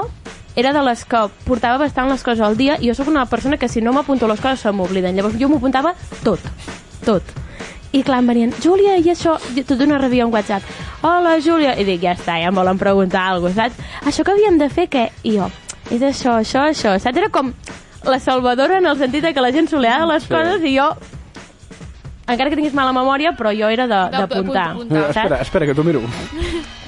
era de les que portava bastant les coses al dia i jo sóc una persona que si no m'apunto les coses se m'obliden. Llavors jo m'ho apuntava tot, tot. I clar, em venien, Júlia, i això? I Tot d'una rebia un WhatsApp. Hola, Júlia. I dic, ja està, ja em volen preguntar alguna cosa, saps? Això que havíem de fer, què? I jo, és això, això, això. Saps? Era com la salvadora en el sentit de que la gent soleava les Sí. coses i jo encara que tinguis mala memòria, però jo era de- De- d'apuntar. d'apuntar. vida. Eh, Espera, saps? espera, que t'ho miro.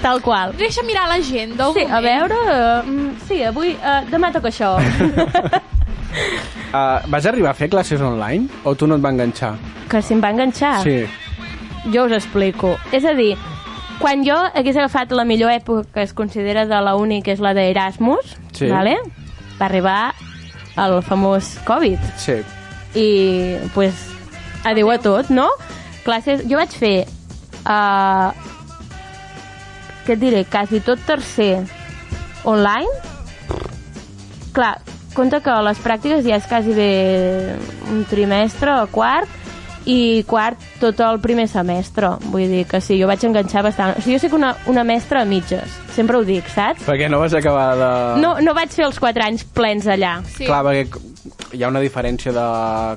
Tal qual. Deixa mirar la gent, d'un Sí, a veure... eh, mm, sí, avui... Uh, demà toca això. Uh, vas arribar a fer classes online o tu no et va enganxar? que si em va enganxar. Sí. Jo us explico. És a dir, quan jo hagués agafat la millor època que es considera de la uni, que és la d'Erasmus, Sí. vale? va arribar el famós Covid. Sí. i pues, adeu a tot, no? Classes... Jo vaig fer uh, eh, què et diré, quasi tot tercer online, clar, compte que les pràctiques ja és quasi bé un trimestre o quart, i quart tot el primer semestre. Vull dir que sí, jo vaig enganxar bastant. O sigui, jo sóc una, una mestra a mitges, sempre ho dic, saps? Perquè no vas acabar de... No, no vaig fer els 4 anys plens allà. Sí. Clar, perquè c- hi ha una diferència de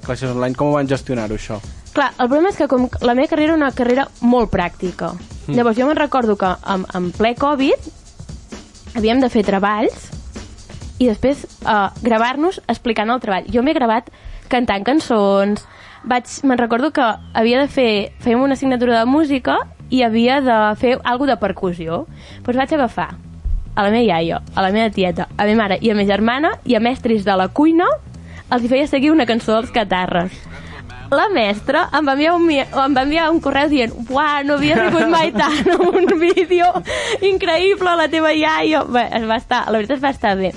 classes online. Com ho van gestionar això? Clar, el problema és que com la meva carrera era una carrera molt pràctica. Mm. Llavors jo me'n recordo que en, en ple Covid havíem de fer treballs i després eh, gravar-nos explicant el treball. Jo m'he gravat cantant cançons, vaig, me'n recordo que havia de fer, fèiem una assignatura de música i havia de fer alguna de percussió. Doncs vaig agafar a la meva iaia, a la meva tieta, a la meva mare i a la meva germana i a mestres de la cuina els hi feia seguir una cançó dels catarres. La mestra em va enviar un, mi- em va enviar un correu dient «Uah, no havia rigut mai tant amb un vídeo increïble, la teva iaia!» Bé, es va estar, la veritat es va estar bé.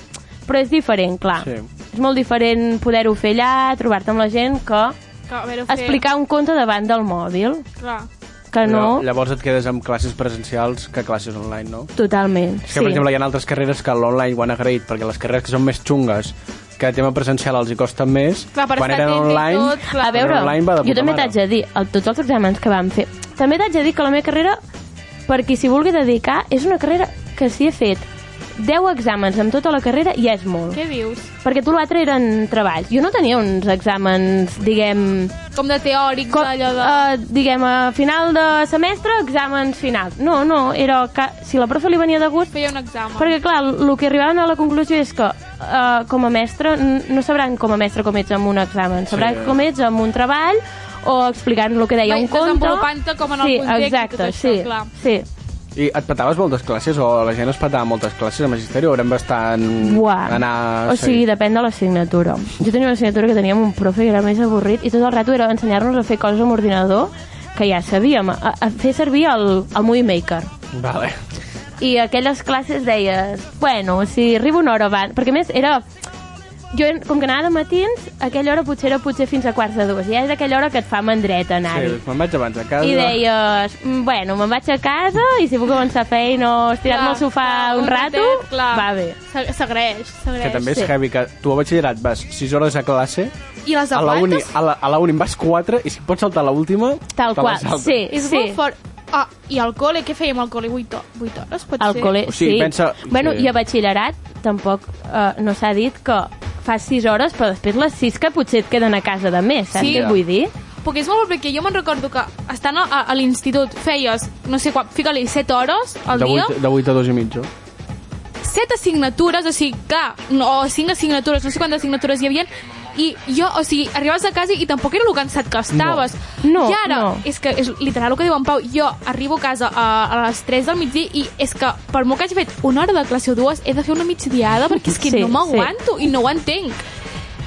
Però és diferent, clar. Sí. És molt diferent poder-ho fer allà, trobar-te amb la gent, que Que, a veure, explicar un conte davant del mòbil. Clar. Que Eh, no, Però Llavors et quedes amb classes presencials que classes online, no? totalment. És que, per exemple, hi ha altres carreres que l'online ho han agraït, perquè les carreres que són més xungues, que el tema presencial els hi costa més, Clar, per quan estar eren dins i online... tot, clar. a veure, online va de jo puta també mare. t'haig de dir, el, tots els exàmens que vam fer, també t'haig de dir que la meva carrera, per qui s'hi vulgui dedicar, és una carrera que s'hi he fet 10 exàmens amb tota la carrera i és molt. Què dius? Perquè tu l'altre eren treballs. Jo no tenia uns exàmens, diguem, Com de teòrics, com, Com, allò de... eh, diguem, a final de semestre, exàmens finals. No, no, era que si la profe li venia de gust, Feia un examen. perquè, clar, el que arribaven a la conclusió és que eh, com a mestre, n- no sabran com a mestre com ets amb un examen, sabran Sí. sí. com ets amb un treball o explicant el que deia Vai un conte. desenvolupant-te com en el sí, context i exacte, tot això, sí, clar. Sí, I et petaves moltes classes, o la gent es petava moltes classes a Magisteri, o eren bastant... Buah. Anar... o sigui, depèn de l'assignatura. Jo tenia una assignatura que teníem un profe que era més avorrit i tot el rato era ensenyar-nos a fer coses amb ordinador que ja sabíem, a, a fer servir el, el Movie Maker. seguit. Vale. i aquelles classes deies, bueno, si arribo una hora abans, perquè a més era... Jo, com que anava de matins, aquella hora potser era potser fins a quarts de dues, ja és aquella hora que et fa mandreta anar-hi. Sí, me'n vaig abans a casa. I deies, "Mm, bueno, me'n vaig a casa i si puc avançar feina o estirar-me al sofà un, rato, ratet, clar. va bé. S'ag- S'agraeix, s'agraeix. Que també és Sí. heavy, que tu a batxillerat vas 6 hores a classe, I les a la, uni, aguantes? a, la, a la uni en vas 4, i si pots saltar l'última, Tal te la qual, saltes. sí, És sí. molt fort. Ah, i al col·le, què fèiem al col·le? 8, 8 hores, pot Al ser? col·le, O sigui, sí. pensa- Bueno, sí. I a batxillerat tampoc eh, no s'ha dit que fas 6 hores, però després les 6 que potser et queden a casa de més, saps Sí. què et vull dir? Perquè és molt bo, perquè jo me'n recordo que estant a, a, a l'institut feies, no sé quan, fica-li 7 hores al De dia, 8, de 8 a 2 i mitja. 7 assignatures, o sigui, clar, no, o 5 assignatures, no sé quantes assignatures hi havia, i jo, o sigui, arribaves a casa i tampoc era el cansat que estaves. No, I ara, no. és que és literal el que diu en Pau, jo arribo a casa a, a les 3 del migdia i és que per molt que hagi fet una hora de classe o dues, he de fer una migdiada perquè és que Sí, no m'aguanto i no ho entenc.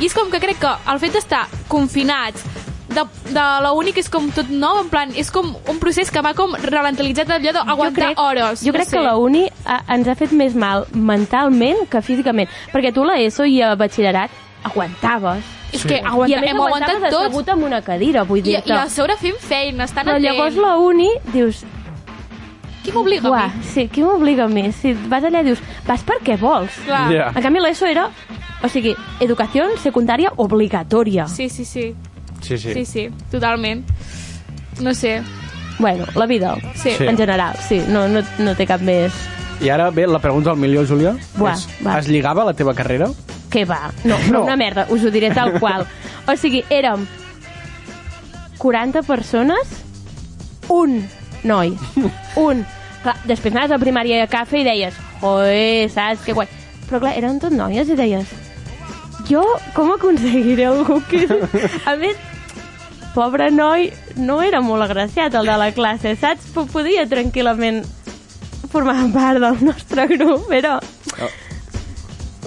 I és com que crec que el fet d'estar confinats, de, de la única és com tot nou, en plan, és com un procés que m'ha com ralentitzat allò d'aguantar hores. Jo crec que la uni a, ens ha fet més mal mentalment que físicament. Perquè tu a l'ESO i a batxillerat aguantaves. És que I aguanta, a més hem aguantat aguantaves tots. assegut amb una cadira, vull I, dir I a sobre fent feina, estan Però llavors la uni dius... Qui m'obliga a Uah, mi? sí, qui m'obliga a mi? Si vas allà dius, vas perquè vols. Clar. Ja. En canvi l'ESO era... O sigui, educació secundària obligatòria. Sí, sí, sí, Sí, sí. sí, sí, totalment. No sé, Bueno, la vida, Sí. en general, sí. No, no, no té cap més... I ara ve la pregunta del milió, Júlia. Buah, és, va. es lligava la teva carrera? Què va? No, No. no, una merda, us ho diré tal qual. O sigui, érem 40 persones, un noi, un. Clar, després anaves a primària a cafè i deies, joe, saps, que guai. Però clar, eren tot noies i deies, jo com aconseguiré algú que... A més, pobre noi, no era molt agraciat el de la classe, saps? Però Podia tranquil·lament formar part del nostre grup, però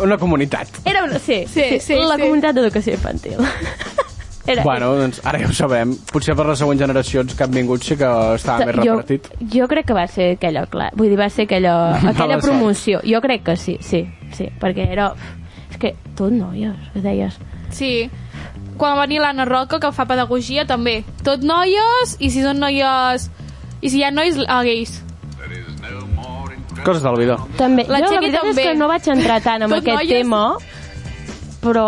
Una comunitat. era una... Sí, Sí, sí, la sí. comunitat d'educació infantil. Era, Bueno, doncs ara ja ho sabem. Potser per les següents generacions que han vingut sí que estava més jo, repartit. jo crec que va ser aquella, clar, vull dir, va ser aquella, aquella sort. promoció. Jo crec que sí, sí, sí, perquè era... És que tot noies, que deies. sí. Quan va venir l'Anna Roca, que fa pedagogia, també. Tot noies, i si són noies... I si hi ha nois, eh, gais. There is no more Coses del bidó. També. La jo, la Txequi veritat també. és que no vaig entrar tant en Tot aquest noies. tema, però...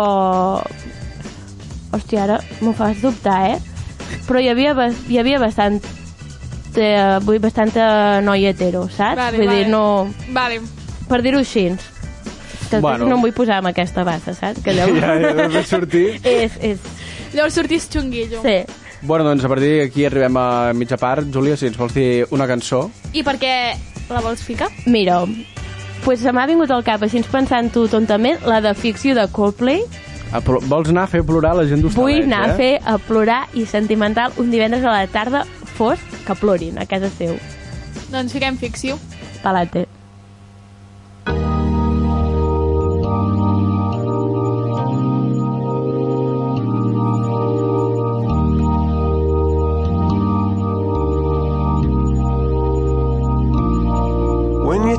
Hòstia, ara m'ho fas dubtar, eh? Però hi havia, bas- hi havia bastant... Eh, vull dir, bastanta noia hetero, saps? Vale, vull vale. dir, no... Vale. Per dir-ho així. Bueno. Que bueno. no em vull posar amb aquesta bassa, saps? Que llavors... Ja, ja, de sortir. és, és... Llavors sortís xunguillo. Sí. Bueno, doncs a partir d'aquí arribem a mitja part. Júlia, si ens vols dir una cançó. I per què la vols ficar? Mira, pues se m'ha vingut al cap, així pensant-ho tontament, la de ficció de Coldplay. A pl- Vols anar a fer plorar la gent d'Hostalet, Vull eh? anar a fer a plorar i sentimental un divendres a la tarda fosc que plorin a casa seu. Doncs fiquem ficció. Palate. When you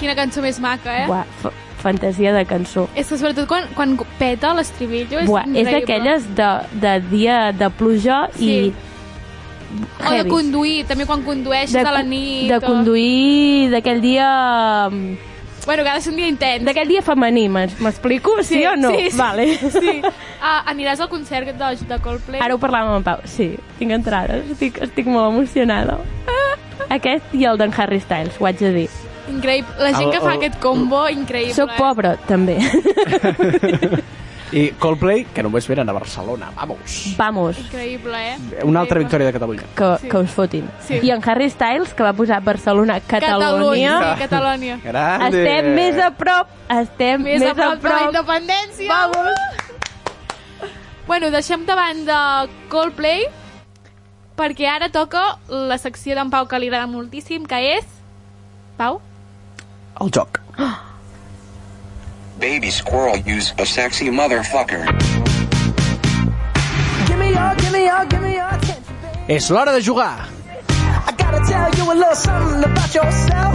Quina cançó més maca, eh? Buah, fa- fantasia de cançó. És que sobretot quan, quan peta l'estribillo és Buah, és increïble. d'aquelles de, de dia de pluja Sí. i O de heavies. conduir, també quan condueixes a la cu- nit. de o- conduir d'aquell dia... mm, Bueno, que ha de ser un dia intens. D'aquell dia femení, m'es- m'explico? Sí, o no? Sí, sí. Vale. Sí. Ah, aniràs al concert de, de Coldplay? Ara ho parlàvem amb en Pau. Sí, tinc entrades. Estic, estic molt emocionada. Aquest i el d'en Harry Styles, ho haig de dir. Increïble. La gent que El- fa el- aquest combo, increïble. Soc eh? pobre, també. I Coldplay, que només venen a Barcelona, vamos. Vamos, Increïble, eh? Una altra victòria de Catalunya. que, sí. que us fotin. Sí. I en Harry Styles, que va posar Barcelona, Catalunya... Catalunya. Sí, Catalunya. Grande. Estem més a prop, estem Més, a prop de la independència. Vamos. Bueno, deixem de banda Coldplay, perquè ara toca la secció d'en Pau que li agrada moltíssim, que és... Pau? El joc. Baby squirrel, use a sexy motherfucker. Give me your, give me your, give me your attention. És l'hora de jugar! I gotta tell you a little something about yourself.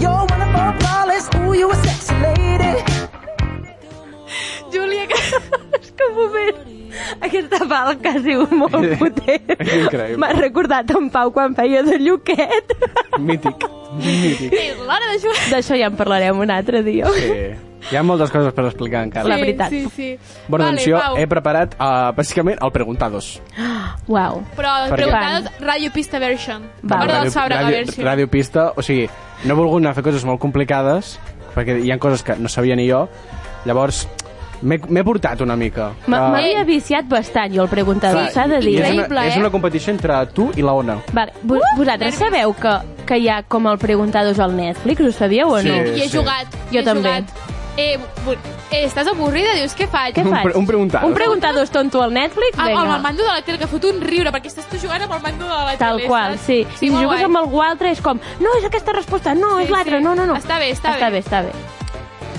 You're one of our flawless, ooh, you a sexy lady. Júlia, que... És que un moment... Aquesta falca ha sigut molt potent. és increïble. M'ha recordat en Pau quan feia de Lluquet. Mític. Mític. és l'hora de jugar. D'això ja en parlarem un altre dia. Sí. Hi ha moltes coses per explicar encara. La veritat. Sí, sí. Bueno, vale, doncs jo Pau, he preparat, uh, bàsicament, el Preguntados. Uau. Però Per què? preguntades Radio Pista Version. Vale. Va. Hora Ràdio- del Fàbrega ràdio, Version. ràdio Pista, o sigui, no he volgut anar a fer coses molt complicades, perquè hi ha coses que no sabia ni jo, llavors m'he m'he portat una mica. M- Eh, M'havia viciat bastant jo el preguntador, clar, s'ha de i dir. És Increïble, una, eh? és una competició entre tu i la Ona. Vale, vos, Uh! vosaltres sabeu que, que hi ha com el Preguntados al Netflix? Ho sabíeu o no? Sí, I he sí. jugat. Jo he també. Jugat. Eh, bu- eh, estàs avorrida? Dius, què faig? Què Un faig? pre- un Preguntados. Un Preguntados tonto al Netflix? Amb, amb el Vinga. mando de la tele, que fot un riure, perquè estàs tu jugant amb el mando de la tele. Tal qual, saps? sí. I si molt jugues guai. amb algú altre és com, no, és aquesta resposta, no, Sí, és l'altra, sí. no, no, no. Està bé, està està bé. bé. Està bé,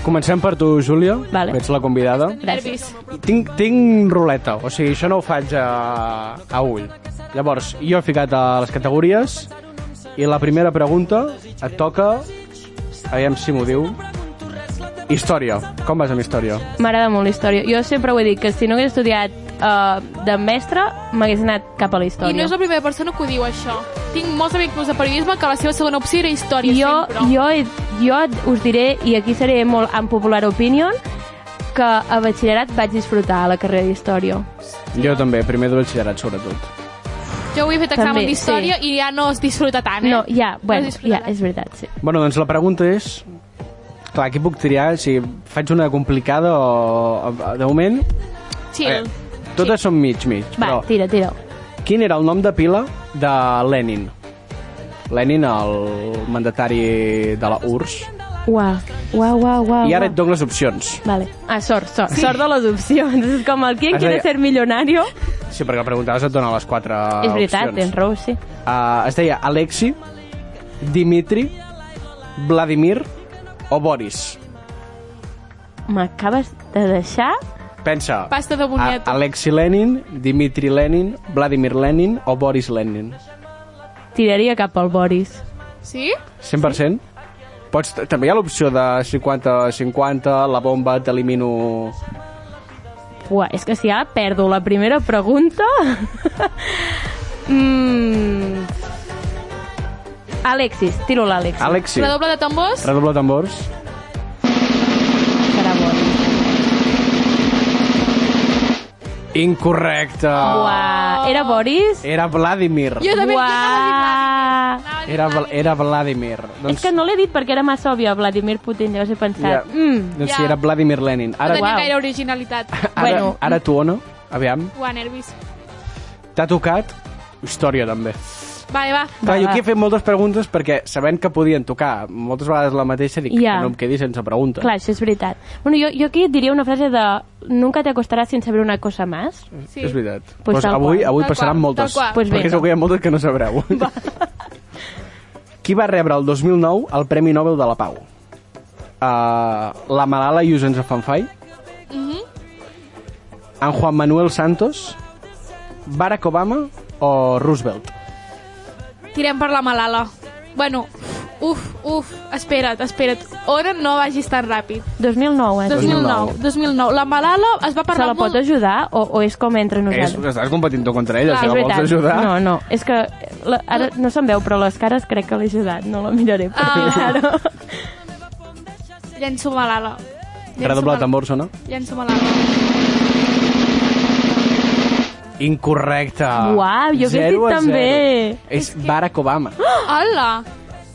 Comencem per tu, Júlia, Vale. que ets la convidada. Gràcies. Tinc, tinc ruleta, o sigui, això no ho faig a, a ull. Llavors, jo he ficat a les categories i la primera pregunta et toca... Aviam si m'ho diu... Història. Com vas amb història? M'agrada molt la història. Jo sempre ho he dit, que si no hagués estudiat uh, de mestre, m'hagués anat cap a la I història. no és la primera persona que ho diu, això. Tinc molts amics meus de periodisme que la seva segona opció era història, jo, sempre. jo, he- jo et- us diré, i aquí seré molt en popular opinion, que a batxillerat vaig disfrutar a la carrera d'història. Jo també, primer de batxillerat, sobretot. Jo avui he fet examen També, d'història i ja no es disfruta tant, eh? No, ja, bueno, disfrutarà. ja, és veritat, sí. Bueno, doncs la pregunta és... Clar, aquí puc triar si faig una complicada o... De moment, Eh, Chill. totes són mig-mig. Va, Però tira, tira. quin era el nom de pila de Lenin? Lenin, el mandatari de la URSS. Uau, uau, uau, uau. I ara uau. et dono les opcions. Vale. Ah, sort, sort. Sí. Sort de les opcions. És com el quien Has de- quiere ser millonario. Sí, perquè preguntaves et dona les quatre és veritat, Ah, opcions. tens raó, sí. Uh, es deia Alexi, Dimitri, Vladimir o Boris. M'acabes de deixar... Pensa. Pasta de boniato. A- Alexi Lenin, Dimitri Lenin, Vladimir Lenin o Boris Lenin. Tiraria cap al Boris. Sí? 100%? Pots, també hi ha l'opció de 50-50, la bomba, t'elimino... Uah, és que si ara perdo la primera pregunta... mm... Alexis, tiro l'Alexis. Alexi, La doble de tambors? redobla tambors. Serà Boris. Incorrecte. Uah, era Boris? Era Vladimir. Jo també Uah. Era, Vla- era Doncs, Vladimir. És que no l'he dit perquè era massa òbvia, Vladimir Putin, llavors he pensat... Ja. Yeah. Mm, Doncs sí, Ja. era Vladimir Lenin. No Ara, tenia Uau. gaire originalitat. ara, Bueno. ara tu, Ona, aviam, Uah, nervis. t'ha tocat història, també. Vale, va. Clar, jo va. aquí he fet moltes preguntes perquè sabent que podien tocar moltes vegades la mateixa, dic Ja. que no em quedi sense pregunta. clar, això és veritat. Bueno, jo, jo aquí diria una frase de... Nunca te acostarás sin saber una cosa más. Sí. És veritat. Pues tal avui qual. avui Tal passaran qual, moltes, tal qual. Pues perquè vinga. segur que hi ha moltes que no sabreu. Qui va rebre el 2009 el Premi Nobel de la Pau? Uh, la Malala Yusensa Fanfai? Mhm. En Juan Manuel Santos? Barack Obama o Roosevelt? Tirem per la malala. Bueno, uf, uf, espera't, espera't. Ona, no vagis tan ràpid. 2009, eh? 2009, 2009. La malala es va Se parlar la pot Doncs molt... ajudar o, o és com entre És, nosaltres? estàs competint tu contra ella, Ah, si és la vols veritat. ajudar. No, no, és que la, ara no se'n veu, però les cares crec que l'he ajudat. No la miraré per Ah. mirar-ho. Llenço malala. Llenço Redobla malala. de tambor, sona. Llenço malala. Incorrecte. Uau, jo hagués dit Zero a zero. també. És Barack Obama. Hola!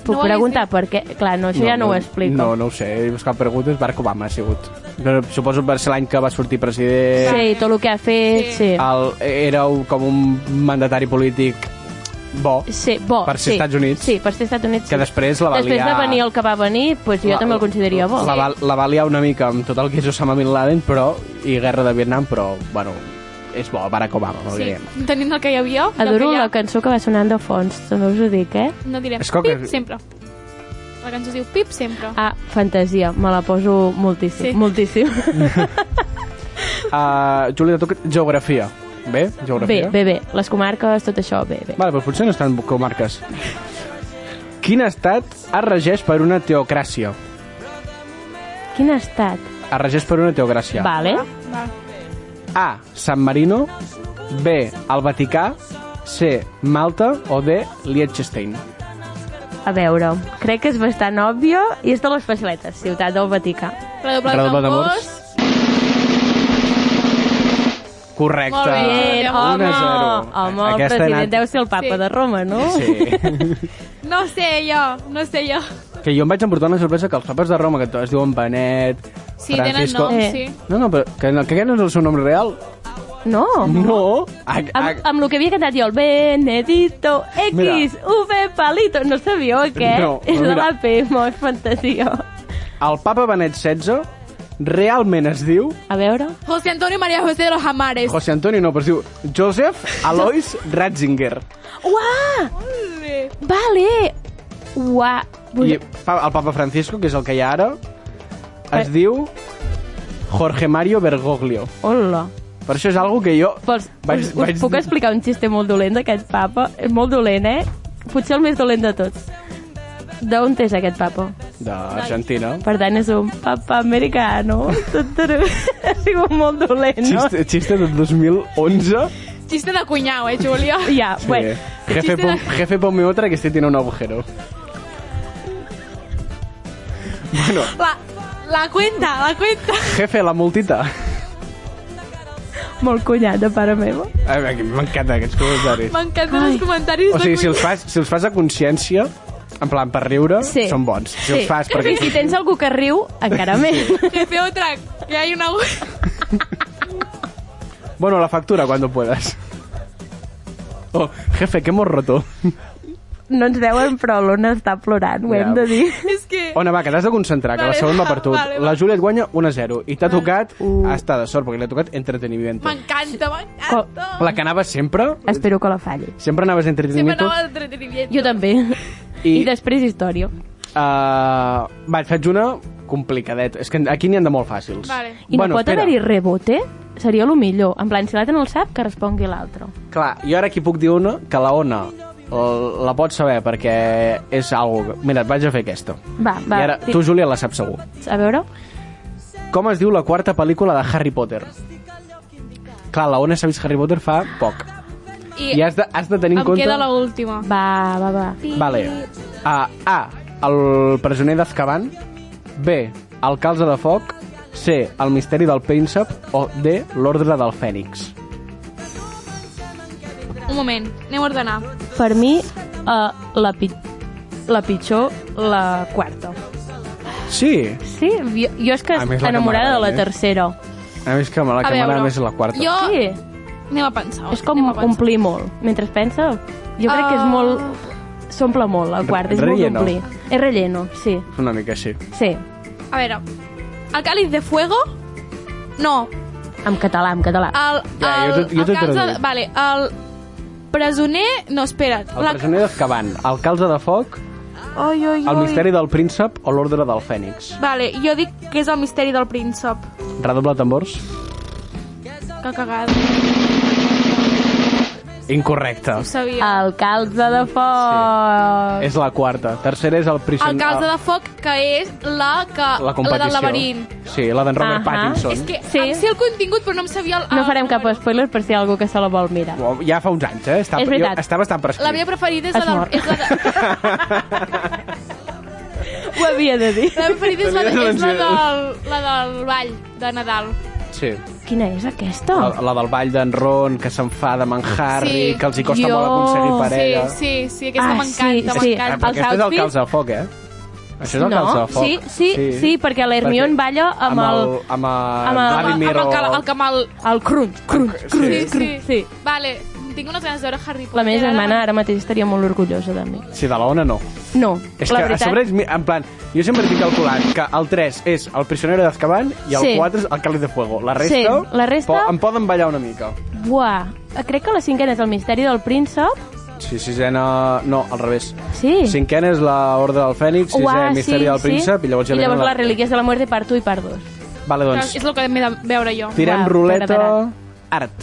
Puc ho hagués preguntar per què? Clar, no, això ja no, ho explico. No, no ho sé. He buscat preguntes. Barack Obama ha sigut. Però suposo que va ser l'any que va sortir president. Ah. Sí, tot el que ha fet, sí. El, era un, com un mandatari polític bo. Sí, bo. Per ser sí. Estats Units. Sí, per ser Estats Units. Que sí. després la va després liar- de venir el que va venir, doncs jo La- també el consideraria bo. La, va, la va liar una mica amb tot el que és Osama Bin Laden, però, i guerra de Vietnam, però, bueno, és bo, Barack Obama, no Sí. sí. Tenint el que hi havia... i el Adoro que hi ha, la cançó que va sonant de fons, també us ho dic, eh? No direm És com que- pip sempre. La cançó es diu pip sempre. Ah, fantasia, me la poso moltíssim. Sí. Sí. Moltíssim. Uh, Júlia, tu, que- geografia. Bé? bé, Geografia? bé, bé, les comarques, tot això, bé, bé. Vale, doncs potser no estan comarques. Quin estat es regeix per una teocràcia? Quin estat? Es regeix per una teocràcia. Vale. Ah. A. San Marino. B. El Vaticà. C. Malta. O D. Liechtenstein. A veure, crec que és bastant òbvio i és de les faciletes, Ciutat del Vaticà. Redoble de Redoble d'amors. tambors. Correcte. Molt bé, Bien, home. home, 1-0. home, el Aquesta ha president anat- deu ser el papa Sí. de Roma, no? Sí. No sé jo, no sé jo. que jo em vaig emportar una sorpresa que els papes de Roma, que tots es diuen Benet, Sí, tenen Francisco... noms, Eh. sí. No, no, però que, no, que aquest no és el seu nom real. No. No. A, a, Amb, amb el que havia cantat jo, el Benedito X, Mira. V palito, no sabíeu aquest? No, és de mira. l'AP, molt fantasia. el papa Benet XVI realment es diu... A veure, José Antonio María José de los Amares. José Antonio no, però es diu Joseph Alois Ratzinger. uà, José. vale, uà, I pa- el papa Francisco, que és el que hi ha ara, es Eh. diu Jorge Mario Bergoglio. hola. Per això és algo que jo... Vols, vaig, us, vaig... us puc explicar un xiste molt dolent d'aquest papa? És molt dolent, eh? Potser el més dolent de tots. D'on és aquest papa? D'Argentina. Per tant, és un papa americano. Tuturú. ha sigut molt dolent, no? Xiste, xiste del 2011. Chiste de cuñado, eh, Julia. Ja, sí. bueno. Sí. eh, Jefe, Chiste de- pon- jefe, ponme otra que este tiene un agujero. Bueno, La, la cuenta, la cuenta. jefe, la multita. Molt cunyat de pare meu. A veure, que M'encanta aquests comentaris. M'encanten els Ai. comentaris O de sigui, si cuina. els fas, si els fas a consciència, en plan, per riure, Sí. són bons. Si els fas perquè... I si tens algú que riu, encara més. Jefe, otra, que hay una... Bueno, la factura, cuando puedas. Oh, jefe, que hemos roto. No ens veuen, però l'Ona està plorant, ho Ja. hem de dir. És que... Ona, va, que t'has de concentrar, que Vale, la següent va va, per tu. vale, va. La Júlia et guanya 1-0 i t'ha tocat... Uh. Està de sort, perquè li ha tocat entreteniment. M'encanta, m'encanta. La que anava sempre... Espero que la falli. Sempre anaves Sempre entreteniment. anava d'entreteniment. Jo també. I- I, I després història. Uh, va, et faig una complicadeta. És que aquí n'hi han de molt fàcils. Vale. I bueno, no pot espera. haver-hi rebote? Seria el millor. En plan, si l'altre no el sap, que respongui l'altre. Clar, jo ara aquí puc dir una que la Ona l- la pots saber perquè és algo... que- Mira, et vaig a fer aquesta. Va, va. I ara, ti- tu, Júlia, la saps segur. A veure. Com es diu la quarta pel·lícula de Harry Potter? Clar, la Ona s'ha vist Harry Potter fa poc. I, I has de, has de tenir em en compte... queda l'última. Va, va, va. Vale. A, A, el presoner d'Azkaban. B, el calze de foc. C, el misteri del príncep. O D, l'ordre del fènix. Un moment, anem a ordenar. Per mi, uh, la, pit la pitjor, la quarta. Sí. Sí, jo, jo és que A mi és la que enamorada de m'agrada, la eh? tercera. A més que me la A camarada veure, més és la quarta. Jo... Sí, Anem a pensar. és com anem a pensar. omplir molt. Mentre es pensa, jo crec que és Ah. molt... S'omple molt, la quarta, és relleno. molt d'omplir. És relleno, sí, Una mica així. sí. A veure, el càliz de fuego... No, En català, en català. el... Ja, el, jo t'ho- jo el t'ho calze- traduït. Vale, el presoner... No, espera't. El presoner d'Azkaban, el calze de foc, Oi, oi, el oi. misteri del príncep o l'ordre del fènix. Vale, jo dic que és el misteri del príncep. Redoble tambors. Que cagada. Incorrecte. Ho sabia. Eh, El calze de foc. És la quarta. Tercera és el prisioner... El calze de foc, que és la, que, La Eh, competició. del laberint. Sí, la d'en Robert Ahà. Pattinson. És que Sí. sí. em sé el contingut, però no em sabia el... No el farem cap número. spoiler per si hi ha algú que se la vol mirar. Uau, Ja fa uns anys, eh? Està, És veritat. Jo, està bastant prescrit. La meva preferida és Es la mor. de... És la de Ho havia de dir. la meva preferida és la, de, és la, del, la del ball de Nadal. Sí. Quina és aquesta? La, la del ball d'en Ron, que s'enfada amb en Harry, Sí. que els hi costa Jo. molt aconseguir parella. Sí, sí, sí, aquesta Oh. Ah, m'encanta, sí, sí. Ah, però m'encanta. Els aquest és el outfits- calç de foc, eh? Això és el no? calç de foc. Sí, sí, sí, sí, perquè la Hermione balla Amb amb, el, amb el, amb el- Vladimir Ah, Amb el, o- cal- el camal... el crunch, crunch, Sí. crunch, Sí, sí. crunch. Sí. Vale, Tinc unes ganes de veure Harry Potter. La meva germana ara mateix estaria molt orgullosa de mi. Sí, de la ona no. No, És la que veritat... a sobre, és, mi- en plan, jo sempre tinc calculat que el 3 és el prisionero d'Azkaban i el Sí. 4 és el Cali de Fuego. La resta, Sí, la resta- po em poden ballar una mica. Buah, crec que la cinquena és el misteri del príncep. Sí, sisena... No, al revés. Sí. Cinquena és la Ordre del Fènix, sisena Uah, Misteri del Príncep i llavors ja I llavors venen les relíquies de la muerte part 1 i part 2. Vale, doncs, Doncs... És el que m'he de veure jo. tirem Uau, ruleta, t'agradarà. art.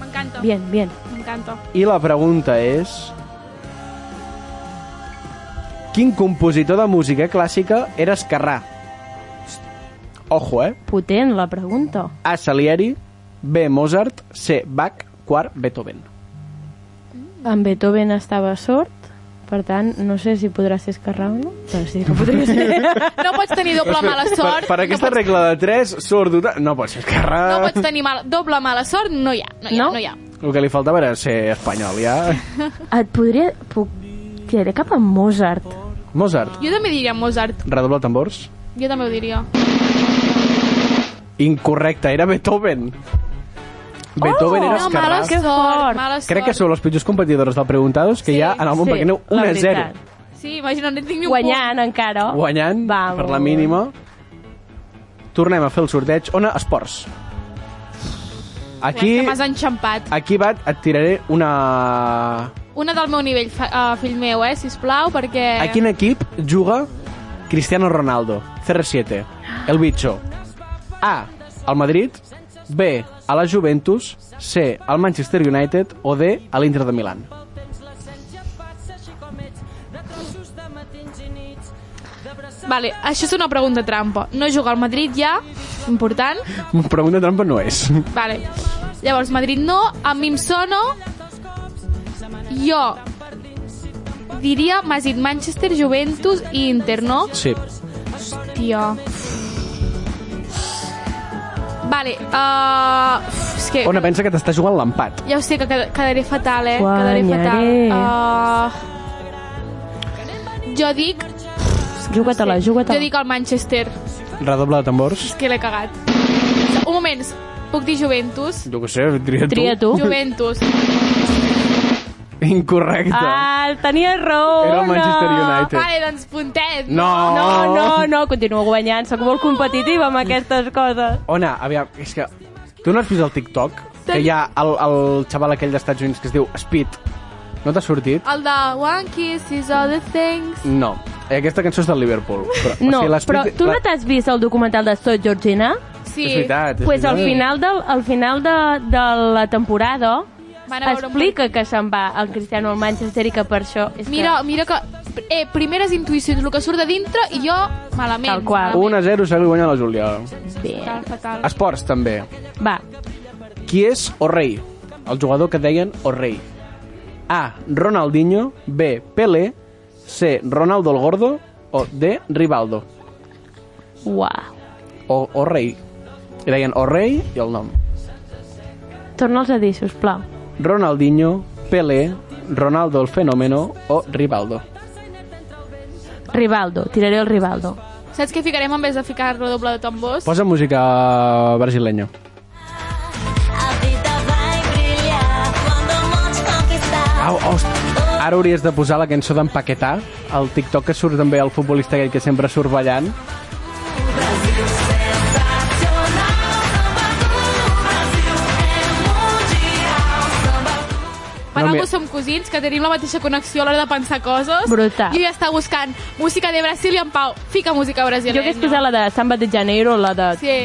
M'encanta. Bien, bien. M'encanta. I la pregunta és... Quin compositor de música clàssica era Esquerrà? Ojo, eh? Potent la pregunta. A. Salieri, B. Mozart, C. Bach, quart Beethoven. En Beethoven estava sort, per tant, no sé si podrà ser esquerrà o no, però sí que podria ser. No pots tenir doble mala sort. Per, per aquesta no pots, regla de 3, surt... d'una- No pot ser Esquerrà. No pots tenir mal, doble mala sort, no hi ha. No hi ha, No? no, hi ha. El que li faltava era ser espanyol, ja. Et podria... Puc tirar cap a Mozart. Mozart, Jo també diria Mozart. redobla tambors. Jo també ho diria. Incorrecte, era Beethoven. Beethoven era Oh, no, mala Esquerrà. Que sort, fort. mala sort. Crec que sou les pitjors competidores del Preguntados que Sí, hi ha en el món, sí, Ah, perquè aneu 1 la a 0. veritat. Sí, imagina, no tinc ni un Guanyant encara. oh. Guanyant Vamos. per la mínima. Tornem a fer el sorteig. Ona, esports. punt. Aquí... Aquí, Que m'has enxampat. aquí va, et tiraré una... Una del meu nivell, fa, uh, fill meu, eh, sisplau, perquè... A quin equip juga Cristiano Ronaldo? CR7, el bitxo. A, al Madrid. B, a la Juventus. C, al Manchester United. O D, a l'Inter de Milán. Vale, això és una pregunta trampa. No juga al Madrid ja, important. Pregunta trampa no és. Vale. Llavors, Madrid no, a mi em sono... Jo diria, m'has dit Manchester, Juventus i Inter, no? Sí. Hòstia. Vale, uh, és que... Ona, pensa que t'està jugant l'empat. Ja ho sé, que qued- quedaré fatal, eh? Quedaré Guanyaré. fatal. Uh, jo dic... Juga-te-la, juga-te-la. Jo dic el Manchester. Redobla de tambors. És que l'he cagat. Un moment, puc dir Juventus? Jo què sé, tria tu. Tria tu. Juventus. Incorrecte. Ah, tenia raó. Era el Manchester no. United. Oh. Vale, doncs puntet. No. No, no, no, continuo guanyant. Sóc molt competitiva amb aquestes coses. Ona, aviam, és que... Tu no has vist el TikTok? Que hi ha el, el xaval aquell d'Estats Units que es diu Speed. No t'ha sortit? El de One Kiss is all the things. No. Eh, Aquesta cançó és del Liverpool. Però, No, o sigui, l'Speed- però tu no la- t'has vist el documental de Sot Georgina? Sí. És veritat. és Pues al veritat. final, del, al final de, de la temporada Van a veure un explica que se'n va el Cristiano al Manchester i que per això... És Mira, mira que... Eh, primeres intuïcions, el que surt de dintre i jo malament. Tal qual. malament. 1 a 0 s'ha guanyat la Júlia. que... Bé. Fatal, fatal. Esports, també. Va, Qui és O'Reilly? El jugador que deien O'Reilly. A. Ronaldinho. B. Pelé. C. Ronaldo el Gordo. O D. Rivaldo. uau. O O'Reilly. I deien O'Reilly i el nom. Torna'ls a dir, sisplau. Ronaldinho, Pelé, Ronaldo el Fenómeno o Rivaldo. Rivaldo, tiraré el Rivaldo. Saps què ficarem en vez de ficar la doble de tambors? Posa música brasileña. A vida vai brilhar quando o monte conquistar. Au, host... Ara hauries de posar la cançó d'Empaquetar, el TikTok que surt també el futbolista aquell que sempre surt ballant. Per No, no, algú mira. som cosins, que tenim la mateixa connexió a l'hora de pensar coses. Brutal. Jo ja està buscant música de Brasil i en Pau. Fica música brasileña. Jo hagués posat la de Samba de Janeiro, la de... Sí.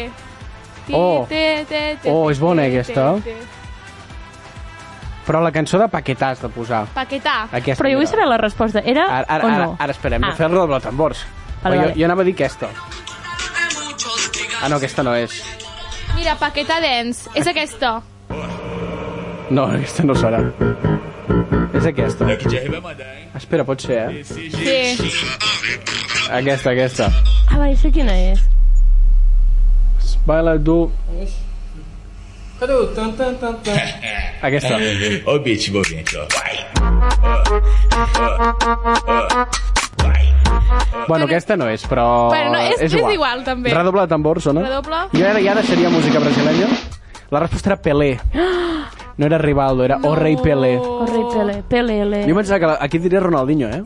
Ti, Oh. te, te, te, Oh, te, és bona, te, aquesta. te, te. Però la cançó d'Empaquetar has de posar. Paquetà. Aquesta, Però jo vull mira. saber la resposta. Era Ara, ara, o ara, no? ara espera, hem de Ah. fer el rodoble de tambors. Vale, Però jo, vale. jo anava a dir aquesta. Ah, no, aquesta no és. Mira, Paquetà Dance. És aquesta. No, aquesta no serà. És aquesta. Espera, pot ser, eh? Sí. Aquesta, aquesta. Ah, va, això quina és? Baila do... Tan, tan, tan, tan. Aquesta. Ó o beat envolvente, ó. Vai. Bueno, aquesta no és, però... Bueno, no, és- és igual, també. Redobla de tambor, sona. Redoble. I ara, i ara seria música brasileña. La resposta era Pelé. No era Rivaldo, era no. Orre i Pele. Oh. Corre, Pele, eh? Pele, Pele. Jo pensava que la- aquí diria Ronaldinho, eh?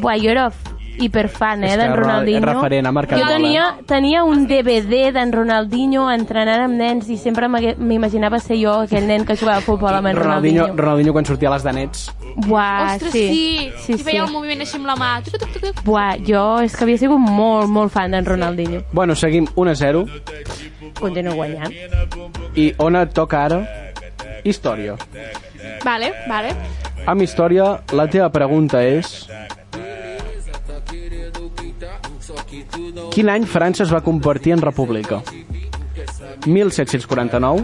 Buah, jo era f- hiperfan, És eh, que d'en Ronald- Ronaldinho. referent, ha marcat jo molt, tenia, tenia un DVD d'en Ronaldinho entrenant amb nens i sempre m'hagué- m'imaginava ser jo aquell nen que jugava a futbol amb en Ronaldinho, Ronaldinho. Ronaldinho quan sortia a les danets. Buah, Ostres, Ah, sí. sí. Sí, I veia sí. el moviment així amb la mà. Tuc, tuc, tuc, tuc. Buah, jo és que havia sigut molt, molt fan d'en Ronaldinho. Bueno, seguim 1-0 Continuo guanyant. i on et toca ara? Història. Vale, vale. Amb història, la teva pregunta és... Quin any França es va convertir en república? 1749,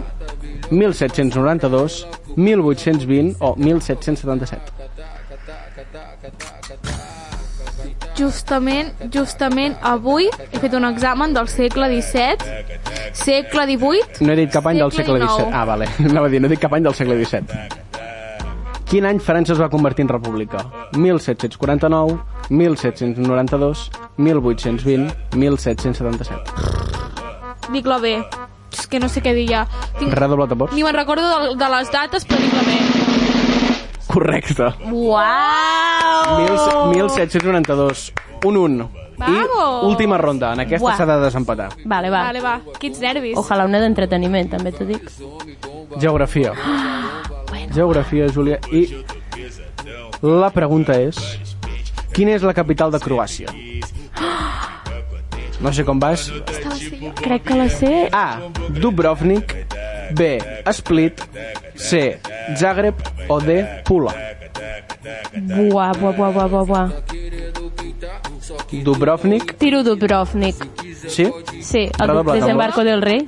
1792, 1820 o 1777? Justament, justament avui he fet un examen del segle XVII, segle XVIII, No he dit cap any del segle Segle XVII. XIX. Ah, vale. Anava a dir, no he dit cap any del segle XVII. Quin any França es va convertir en república? 1749, 1792, 1820, 1777. dic la B. És que no sé què dir ja. Tinc... Redobla tambors. Ni me'n recordo de, de les dates, però dic la B. Correcte. Uau! 1792. Un 1. Vamos. I última ronda. En aquesta Buah. s'ha de desempatar. Vale, va. Vale, va. Quins nervis. Ojalà una d'entreteniment, també t'ho dic. Geografia. Ah, Geografia, Júlia. I la pregunta és... Quina és la capital de Croàcia? Ah! No sé com vas. Crec que la sé... A. Dubrovnik. B. Split. C. Zagreb. O D. Pula. Buah, buah, buah, buah, buah, buah. Dubrovnik. Tiro Dubrovnik. Sí? Sí, el Redobla, desembarco del rei.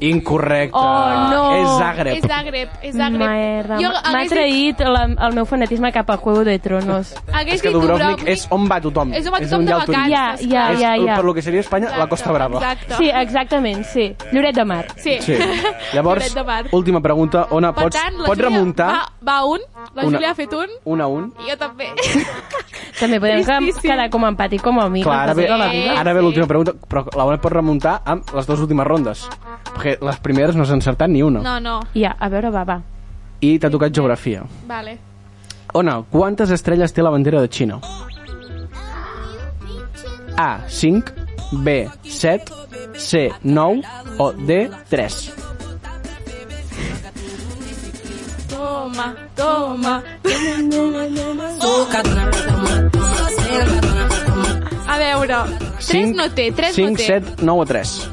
Incorrecte. Oh, no. És Zagreb. És Zagreb, és Zagreb. Merda, Jo m'ha hagués dit, traït la, el meu fanatisme cap a Juego de Tronos. hagués És que dit Dubrovnik és on va tothom. És on va tothom hi ha de el turisme. vacances. Ja, clar. ja, És, ja, ja. per lo que seria Espanya, la Costa Brava. Exacte. Sí, exactament, sí. Lloret de Mar. Sí. Sí. Llavors, Lloret de Mar. última pregunta. Ona, Per pots, tant, la pots Júlia remuntar Va, va un, la Una. Júlia ha fet un, un a un? i jo també. També podem Tristíssim. quedar com a empat i com a amics. Clar, ara ve, tota la vida. ara ve l'última pregunta, però la Ona pot remuntar amb les dues últimes rondes. Perquè les primeres no s'ha encertat ni una. No, no, Ja, a veure, va, va. I t'ha tocat geografia. vale. Ona, quantes estrelles té la bandera de Xina? A, 5, B, 7, C, 9 o D, 3. Toma, toma. A veure, 3 no té, 3 5, no té. 7, 9 o 3.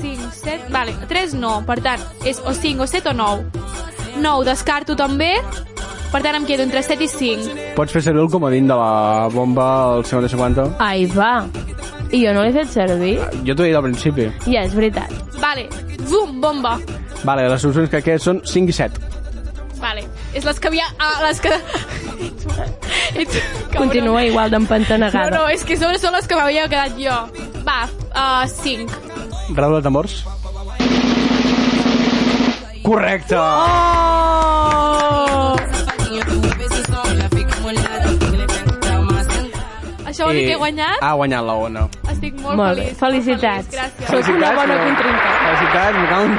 5, 7, vale, 3 no, per tant, és o 5 o 7 o 9. 9 descarto també, per tant em quedo entre 7 i 5. Pots fer servir el comodín de la bomba al 50-50? Ai, va. I jo no l'he fet servir. Jo t'ho he dit al principi. Ja, és veritat. Vale, bum, bomba. Vale, les solucions que queden són 5 i 7. Vale, és les que havia... Ah, les que... Ets un- Ets... un cabrón. Continua igual No, d'empantanegada. no, és que són, són les que m'havia quedat jo. Va, uh, 5. Redoble de tambors. Correcte! Oh! Això vol dir que he guanyat? Ha guanyat la Ona. Estic molt, Molt bé. feliç. Felicitats. Molt feliç, gràcies. Sóc una bona però- contrincant. Felicitats, me cago en...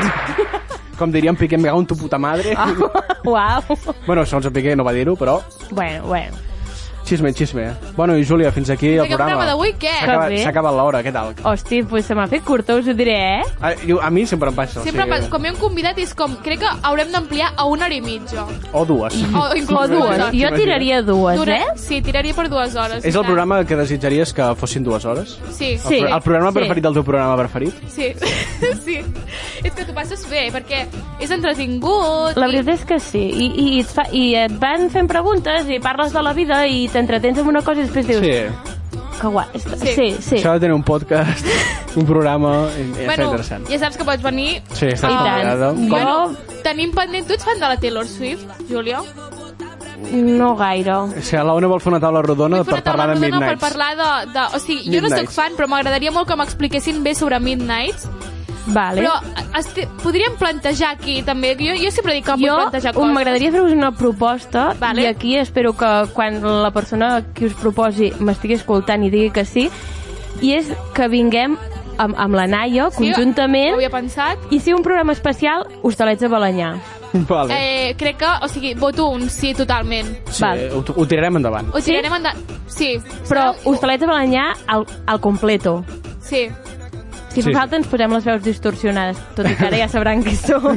Com diríem Piqué, me cago en tu puta madre. Ah. Uau. Bueno, segons el Piqué no va dir-ho, però... Bueno, bueno. Xisme, xisme. Bueno, i Júlia, fins aquí el Fins aquí el programa programa. d'avui, què? S'ha acabat- Que bé. S'ha acabat l'hora, què tal? Hosti, pues se m'ha fet curta, us ho diré, eh? A, jo- a mi sempre em passa. o Sempre, sigui, sí. com hi ha un convidat, és com, crec que haurem d'ampliar a una hora i mitja. O dues. O O inclús dues. Jo tiraria dues, Dura, eh? Sí, tiraria per dues hores. És i el tant. programa que desitjaries que fossin dues hores? Sí, Sí. sí, El programa Sí. preferit del teu programa preferit? sí. sí. És que t'ho passes bé, perquè és entretingut. La i- veritat és que sí. I, i, et, fa, i et van fent preguntes i parles de la vida i t'entretens amb una cosa i després dius... Que guai. està- Sí. Sí, sí. Això de tenir un podcast, un programa... i- i està Bueno, interessant. ja saps que pots venir... Sí, està I tant. convidada. Jo- Bueno, tenim pendent... Tu ets fan de la Taylor Swift, Júlia? No gaire. O sigui, la Ona vol fer una taula rodona Vull fer per parlar de una taula rodona Midnight. Per parlar de, de... O sigui, jo no sóc Midnights. fan, però m'agradaria molt que m'expliquessin bé sobre Midnights. Vale. Però este, podríem plantejar aquí, també. Jo, jo sempre dic que vull jo plantejar um, coses. m'agradaria fer-vos una proposta Vale. i aquí espero que quan la persona que us proposi m'estigui escoltant i digui que sí i és que vinguem amb, amb la Nayo, conjuntament, ho havia pensat. i sí, un programa especial, Hostalets de Balanyà. Vale. Eh, crec que, o sigui, voto un sí totalment. Sí, ho, ho tirarem endavant. O sigui, sí? anem endavant. Sí, Però Hostalets de Balanyà al, al completo. sí. Si Sí, sí, sí. fa falta ens posem les veus distorsionades, tot i que ara ja sabran qui som.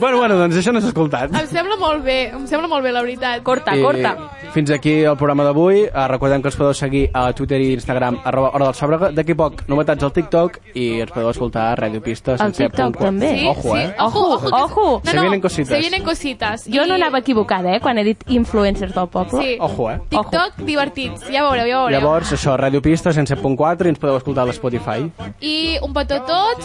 Bueno, bueno, doncs això no s'ha escoltat. Em sembla molt bé, em sembla molt bé, la veritat. Corta, I fins aquí el programa d'avui. Eh, recordem que ens podeu seguir a Twitter i Instagram, arroba Hora del Sàbrega. D'aquí a poc, novetats al TikTok i ens podeu escoltar a Radio Pista. Al sencer punt TikTok com. també. Sí, Ojo, sí. eh? Ojo, ojo, que- Ojo. Se No, no, vienen cositas. Se vienen cositas. Jo no anava equivocada, eh, quan he dit influencers del poble. Sí. Ojo, eh? TikTok divertits, ja veureu, ja veureu. Llavors, això, Radio Pista, 107.4, i ens podeu escoltar a l'Spotify. I un petó a tots.